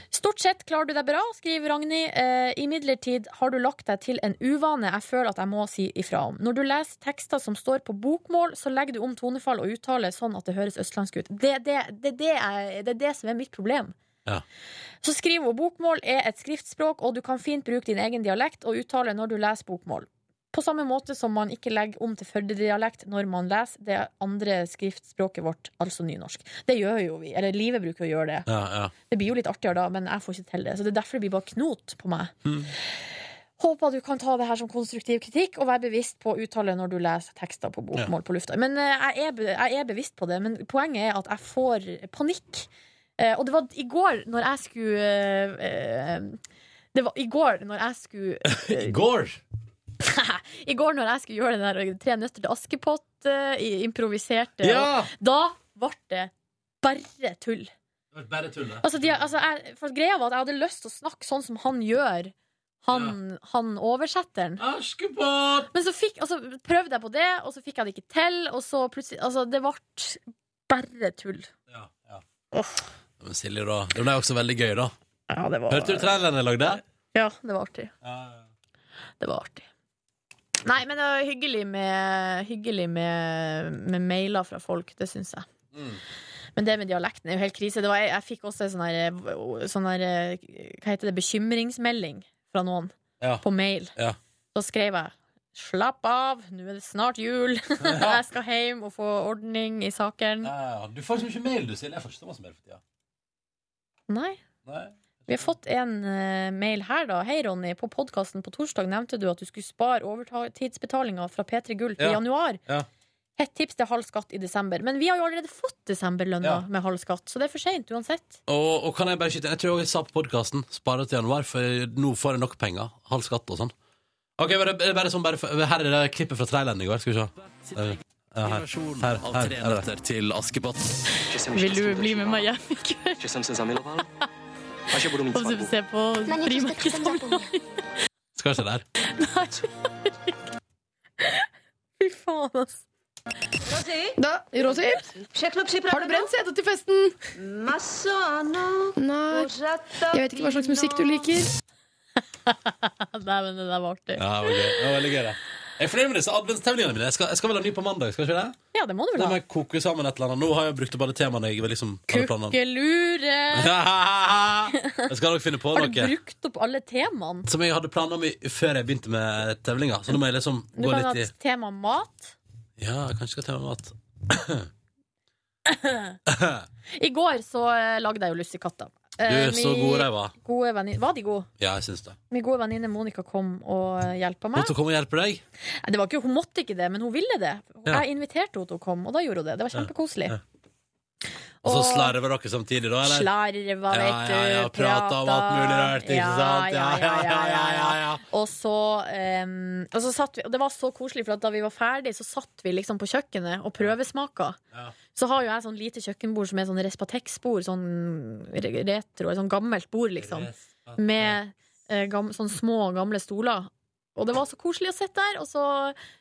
Stort sett klarer du deg bra, skriver Ragnhild. Eh, Imidlertid har du lagt deg til en uvane jeg føler at jeg må si ifra om. Når du leser tekster som står på bokmål, så legger du om tonefall og uttale sånn at det høres østlandsk ut. Det, det, det, det, er, det er det som er mitt problem.
Ja.
Så skriver hun bokmål er et skriftspråk, og du kan fint bruke din egen dialekt og uttale når du leser bokmål. På samme måte som man ikke legger om til Førde-dialekt når man leser det andre skriftspråket vårt, altså nynorsk. Det gjør jo vi. Eller livet bruker å gjøre det.
Ja, ja.
Det blir jo litt artigere da, men jeg får ikke til det. Så det er derfor det blir bare knot på meg. Håper du kan ta det her som konstruktiv kritikk, og være bevisst på å uttale når du leser tekster på bokmål på lufta. Men eh, jeg, er be jeg er bevisst på det, men poenget er at jeg får panikk. Eh, og det var i går, når jeg skulle eh, eh, Det var i går, når jeg skulle
I går!
I går når jeg skulle gjøre den der Tre nøtter til Askepott eh, i- improviserte
Ja!
og Da ble det bare tull.
Bare tull, det.
Altså, de, altså, jeg, for greia var at jeg hadde lyst til å snakke sånn som han gjør, han, han oversetteren.
Askepott!
Men så fikk, altså, prøvde jeg på det, og så fikk jeg det ikke til, og så plutselig Altså, det ble bare tull.
Men Silje, da. Det ble også veldig gøy, da.
Ja, det var...
Hørte du traileren jeg lagde?
Ja, det var artig. Det var artig. Nei, men det var hyggelig med, hyggelig med, med mailer fra folk, det syns jeg.
Mm.
Men det med dialekten er jo helt krise. Det var, jeg, jeg fikk også en sånn her, sånn her Hva heter det? Bekymringsmelding fra noen
Ja.
på mail.
Ja.
Da skrev jeg Slapp av, nå er det snart jul. jeg skal hjem og få ordning i saken.
Ja, Du får så mye mail, du, Silje. Jeg forstår masse mer for tida.
Nei.
Nei.
Vi har fått en eh, mail her, da. Hei, Ronny. På podkasten på torsdag nevnte du at du skulle spare overtidsbetalinga fra P3 Gull til
Ja.
januar.
Ja.
Hett tips til halv skatt i desember. Men vi har jo allerede fått desemberlønna
Ja.
med halv skatt, så det er for seint uansett.
Og, og kan jeg bare skyte Jeg tror også jeg sa på podkasten Spare til januar, for nå får jeg nok penger. Halv skatt og sånn. Ok, bare, bare sånn bare, for- Her er det klippet fra traileren i går. Skal vi se. Der. Ja, her. Her, her, her, er det.
til Askepott.
Vil du bli med meg hjem i kveld? Og så se på frimerkesamlinga?
Skal vi se der.
Nei. Fy faen, altså.
Da, råtips. Har du brent setet til festen? Nei. Jeg vet ikke hva slags musikk du liker.
Nei, men det der var artig.
Ja, det var gøy. Det var veldig gøy, det. Jeg er fornøyd med disse adventstevlingene mine. Jeg skal, jeg skal vel ha ny på mandag? skal jeg ikke det?
Ja, det må du vel
Da må
ha.
jeg koke sammen et eller annet. Nå har jeg brukt opp alle temaene. jeg vil liksom hadde planer om.
Kukkelure.
Jeg skal nok finne på
Har du
noe
brukt opp alle temaene?
som jeg hadde planer om i- før jeg begynte med tevlinga. Så nå må jeg liksom
Du
gå
kan ha
litt i
et tema mat.
Ja, jeg kanskje skal ta med mat.
I går så eh, lagde jeg jo lussekatter.
Du,
Eh,
så
min
god de var.
gode venninne- Var de gode?
Ja, jeg syns det.
Min gode venninne Monica kom og eh, hjelpa meg.
Måtte komme og hjelpe deg.
Nei, Det var ikke, hun måtte ikke det, men hun ville det.
Ja.
Jeg inviterte henne til å komme, og da gjorde hun det. Det var kjempekoselig.
Ja, Og så
Og-
slarver dere samtidig, da? eller?
Slarva,
Ja,
vet du.
ja, ja, prata om alt mulig rart, ikke
ja,
sant?
Ja, ja, ja. ja, ja,
ja.
Og så, em, og så satt vi, og det var så koselig, for at da vi var ferdig, så satt vi liksom på kjøkkenet og prøvesmaka.
Ja.
Så har jo jeg sånn lite kjøkkenbord som er sånn Respatex-bord, sånn re- retro, sånn gammelt bord, liksom. Med eh, gam, sånn små, gamle stoler. Og det var så koselig å sitte der, og så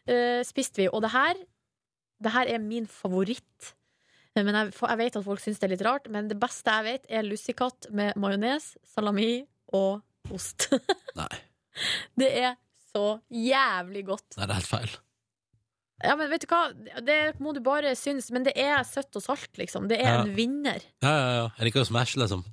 eh, spiste vi. Og det her, det her er min favoritt. Men jeg, for- jeg vet at folk syns det er litt rart, men det beste jeg vet, er lussekatt med majones, salami og ost.
Nei.
Det er så jævlig godt.
Nei, det er helt feil.
Ja, men vet du hva, det må du bare synes, men det er søtt og salt, liksom. Det er
Ja.
en vinner.
Ja, ja, ja. Jeg liker jo Smash, liksom.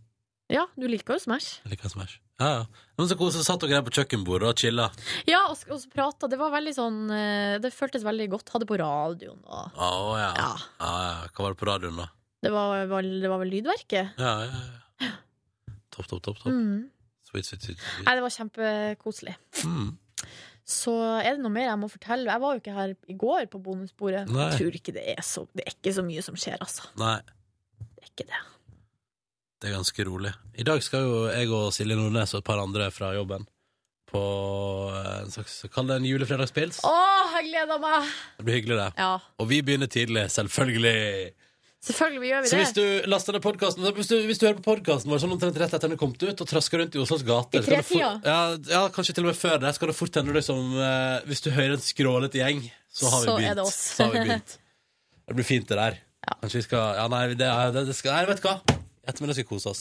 Ja, du liker jo Smash.
Jeg liker Smash. Ja, ja. Men så koselig, så satt dere der på kjøkkenbordet og chilla.
Ja, og, og så prata. Det var veldig sånn eh, Det føltes veldig godt. Hadde på radioen og
Å ja. Ja. ja. Hva var det på radioen, da?
Det var, vel- det var vel Lydverket?
Ja, ja, ja. Topp, topp, topp. topp.
Mm.
Sweet, sweet, sweet.
Nei,
sweet.
det var kjempekoselig.
Mm.
Så er det noe mer jeg må fortelle? Jeg var jo ikke her i går på bonusbordet.
Nei.
Jeg tror ikke det er så Det er ikke så mye som skjer, altså.
Nei.
Det er ikke det.
Det er ganske rolig. I dag skal jo jeg og Silje Nordnes og et par andre fra jobben på eh, en slags Kall det en julefredagspils.
Å, jeg gleder meg!
Det blir hyggelig, det.
Ja,
Og vi begynner tidlig, selvfølgelig.
selvfølgelig gjør vi
Så
det.
hvis du laster ned podcasten hvis, du- hvis du hører på podkasten vår sånn omtrent rett etter den er kommet ut, og trasker rundt i Oslos gater
I
skal du fort-
tretida?
ja, ja, kanskje til og med før det. Skal det fort hende deg som eh, Hvis du hører en skrålete gjeng, så har vi
Så er
begynt.
det oss.
så har vi begynt. Det blir fint, det der. Kanskje vi skal Ja, nei, det, er- det, det skal, nei vet du hva. I ettermiddag skal vi kose oss.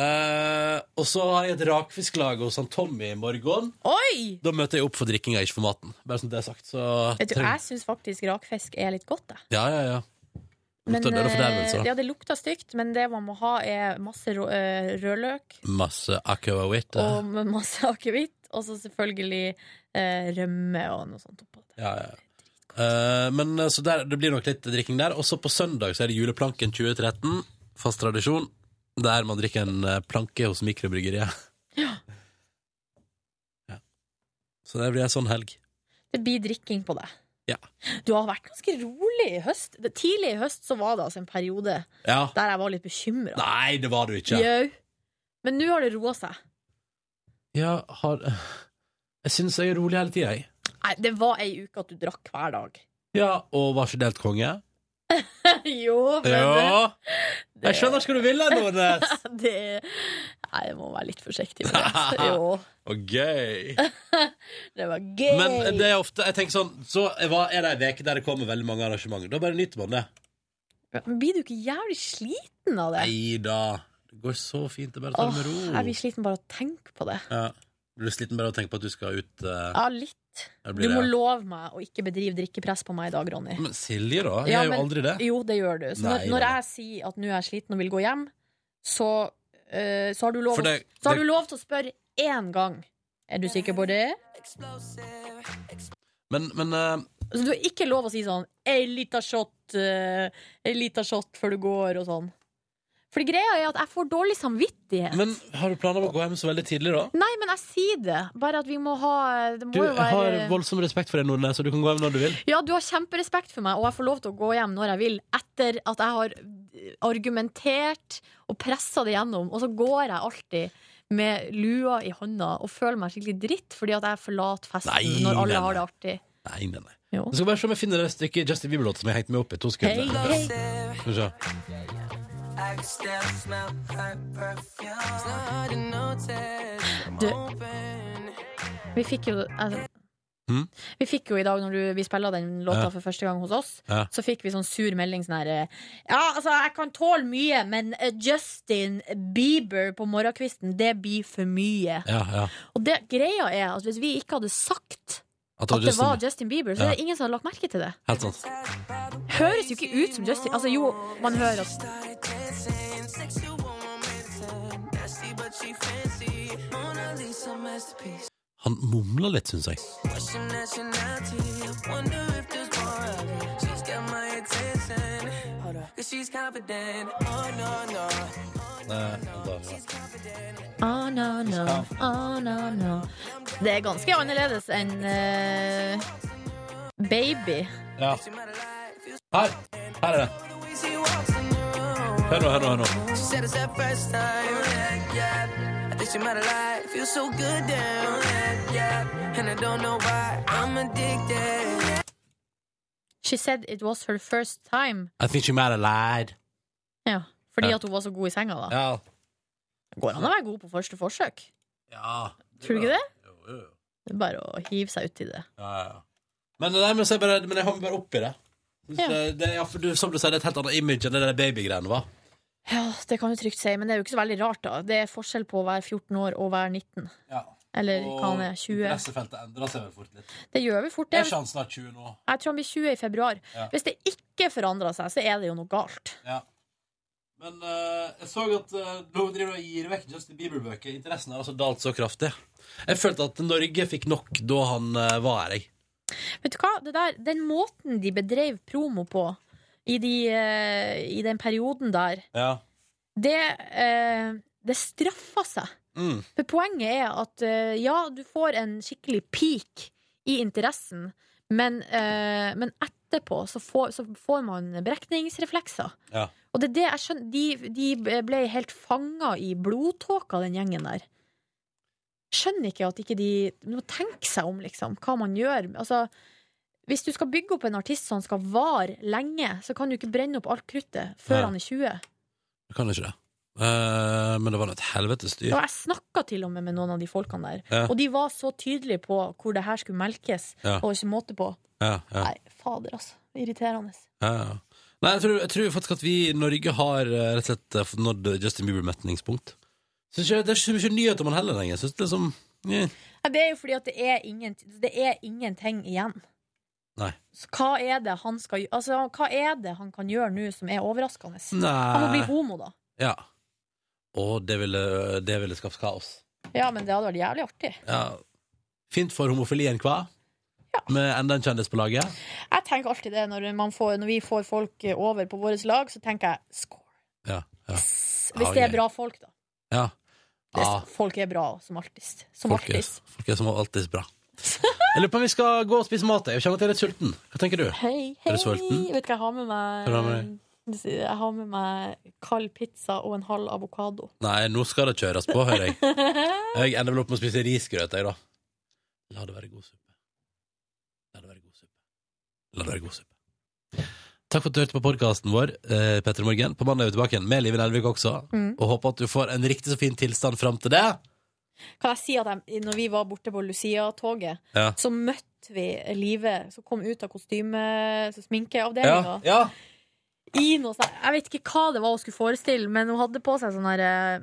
Eh, og så har jeg et rakfisklag hos han Tommy i morgen.
Oi!
Da møter jeg opp for drikkinga, ikke for maten. Bare som det er sagt. Så
Vet du,
trenger-
jeg syns faktisk rakfisk er litt godt, jeg.
Ja, ja, ja.
Men,
Lukter døde fordervelser.
eh, ja, det lukta stygt, men det man må ha, er masse rå, eh, rødløk
Masse akavawitt.
og med masse akevitt. Og så selvfølgelig eh, rømme og noe sånt. oppå.
Ja, ja. Eh, men eh, så der, det blir nok litt drikking der. Også på søndag så er det Juleplanken 2013. Fast tradisjon. Der man drikker en eh, planke hos mikrobryggeriet. Ja. Så det blir en sånn helg.
Det blir drikking på deg.
Ja.
Du har vært ganske rolig i høst. Det- Tidlig i høst så var det altså en periode
Ja.
der jeg var litt bekymra.
Nei, det var du ikke.
Men nå har det roa seg.
Ja, har Jeg syns jeg er rolig hele tida, jeg.
Nei, det var ei uke at du drakk hver dag.
Ja, og var ikke delt konge.
jo, men
Ja! Jeg skjønner hva du vil, Nordnes.
det Nei, jeg må være litt forsiktig med det. Jo.
Og gøy.
Det var gøy!
Men det er ofte jeg tenker sånn, Så var- er det ei uke der det kommer veldig mange arrangementer. Da bare nyter man det.
Men Blir du ikke jævlig sliten av det?
Nei da. Det går så fint. Det er bare å ta
Åh,
det
jeg
med
blir
ro.
sliten bare av å tenke på det.
Ja. Blir du sliten bare av å tenke på at du skal ut? eh,
Ja, litt.
det
Du
blir
må
det.
love meg å ikke bedrive drikkepress på meg i dag, Ronny.
Men Silje, da? Jeg
Ja,
gjør jo
men-
aldri det.
Jo, det gjør du. Så
Nei,
når, når
da.
jeg sier at nå er jeg sliten og vil gå hjem, så, eh, så, har, du lov
For det-
å, så har
det-
du lov til å spørre én gang. Er du sikker på det?
Men, men eh,
Så Altså, du har ikke lov å si sånn Ei lita shot, eh, ei lita shot før du går, og sånn. For greia er at jeg får dårlig samvittighet.
men har du planer om å gå hjem så veldig tidlig, da?
Nei, men jeg sier det. Bare at vi må ha Det må
Du
jo være
har voldsom respekt for deg, Nordnes, så du kan gå hjem når du vil.
Ja, du har kjemperespekt for meg, og jeg får lov til å gå hjem når jeg vil, etter at jeg har argumentert og pressa det gjennom, og så går jeg alltid med lua i hånda og føler meg skikkelig dritt fordi at jeg forlater festen
Nei,
når alle
nei,
har det
nei.
artig.
Nei, nei, nei.
Jo.
Jeg skal bare se om jeg finner det stykket Justin Bieber-låt som jeg hengte meg opp i. To sekunder.
Hei,
Skal vi se.
Du, vi fikk jo altså,
Hm?
Vi fikk jo i dag, når du, vi spilla den låta
Ja.
for første gang hos oss,
Ja.
så fikk vi sånn sur melding sånn her eh, Ja, altså, jeg kan tåle mye, men eh, Justin Bieber på morgenkvisten, det blir for mye.
Ja, ja.
Og det greia er at hvis vi ikke hadde sagt
At
At det
Justin-
var Justin Bieber, så
Ja.
er det ingen som har lagt merke til det.
Helt sant.
Høres jo ikke ut som Justin. Altså jo, man hører at
Han mumler litt, syns jeg.
Oh no, no, oh no, no. Det er ganske annerledes enn eh, Baby.
Ja. Her. Her er det. Hør nå, hør nå. hør nå
She said it was her first time.
I think she might have lied.
Ja, fordi
Ja.
at hun var så god i senga, da.
Ja.
Går an å være god på første forsøk.
Ja.
Tror du ikke det? Det er bare å hive seg uti det.
Ja, ja, ja. Men, nei, men, så er jeg bare, men jeg hang bare oppi det.
Ja.
Det, det, ja, for du, som du sier, det er et helt annet image enn det der babygreiene var.
Ja, det kan du trygt si, men det er jo ikke så veldig rart, da. Det er forskjell på å være 14 år og å være 19.
Ja.
Eller hva han er, 20.
Pressefeltet endrer seg vel fort litt.
Det gjør vi fort,
Er
det.
ikke han snart 20 nå?
Jeg tror han blir 20 i februar.
Ja.
Hvis det ikke forandrer seg, så er det jo noe galt.
Ja. Men eh, jeg så at eh, nå driver du og gir vekk Justin Bieber-bøker. Interessen har altså dalt så kraftig. Jeg følte at Norge fikk nok da han eh, var her, jeg.
Vet du hva? Det der, den måten de bedrev promo på i, de, eh, i den perioden der,
Ja.
det, eh, det straffa seg.
Mm.
For poenget er at eh, ja, du får en skikkelig peak i interessen, men, eh, men etterpå så får, så får man brekningsreflekser.
Ja.
Og det er det jeg skjønner De, de ble helt fanga i blodtåka, den gjengen der. Skjønner ikke at ikke de De må tenke seg om, liksom, hva man gjør. Altså, hvis du skal bygge opp en artist som skal vare lenge, så kan du ikke brenne opp alt kruttet før
Nei.
han er 20.
Jeg kan ikke det. Eh, men det var nå et helvetes styr.
Og jeg snakka til og med med noen av de folkene der,
Ja.
og de var så tydelige på hvor det her skulle melkes,
Ja.
og ikke måte på.
Ja, ja.
Nei, fader, altså. Irriterende.
Ja, ja. Nei, jeg tror, jeg tror faktisk at vi i Norge har eh, rett og slett eh, fått nådd Justin Bieber-metningspunkt. Synes ikke- Det er ikke så mye nyhet om han heller lenger. Synes det er som, eh,
Nei, det er jo fordi at det er, ingen, det er ingenting igjen.
Nei.
Så hva er det han skal gjø- Altså, hva er det han kan gjøre nå som er overraskende?
Nei.
Han må bli homo, da.
Ja. Og det ville, det ville skapt kaos.
Ja, men det hadde vært jævlig artig.
Ja. Fint for homofilien, hva? Med enda en kjendis på laget.
Jeg tenker alltid det når, man får, når vi får folk over på vårt lag, så tenker jeg score.
Ja. ja.
Hvis det er bra folk, da.
Ja.
Det
ja.
er- Folk er bra som artist. Som
Folk, er,
artist.
folk er som alltid bra. Jeg lurer på om vi skal gå og spise mat. Jeg kjenner at jeg er litt sulten. Hva tenker du?
Hei, hei!
Er du sulten?
Vet du hva jeg har med
Hva har du med
meg? Jeg har med meg kald pizza og en halv avokado.
Nei, nå skal det kjøres på, hører jeg. Jeg ender vel opp med å spise risgrøt, jeg, da. La det være god suppe. La det være god suppe. Takk for at du hørte på podkasten vår, eh, Petter i Morgen. På mandag er vi tilbake igjen med Live i Nelvik også.
Mm.
Og håper at du får en riktig så fin tilstand fram til det.
Kan jeg si at jeg, når vi var borte på Lucia-toget,
Ja.
så møtte vi Live, som kom ut av kostyme- sminkeavdelinga.
ja.
I noe sånn Jeg vet ikke hva det var hun skulle forestille, men hun hadde på seg sånn her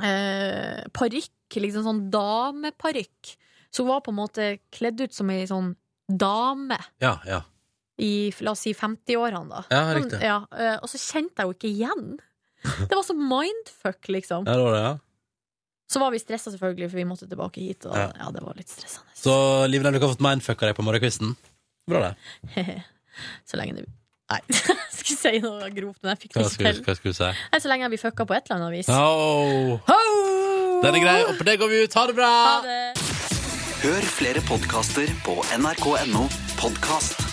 eh, eh, parykk. Liksom sånn dameparykk. Så hun var på en måte kledd ut som ei sånn dame.
Ja, ja.
i la oss si 50-årene, da.
Ja,
Sånn,
riktig.
ja, eh, og så kjente jeg jo ikke igjen. Det var så mindfuck, liksom.
Der var det, ja.
Så var vi stressa, selvfølgelig, for vi måtte tilbake hit. Og, ja. det var litt stressende.
Så Live i Nelvik har fått mindfucka deg på morgenkvisten. Bra, det.
så lenge det Nei, jeg skulle si noe grovt, men jeg fikk det
Hva
ikke
skulle,
til.
hva skulle du si?
Nei, Så lenge jeg blir fucka på et eller annet vis.
Au! Den er grei. Og på det går vi ut. Ha det bra!
det.
Hør flere podkaster på nrk.no podkast.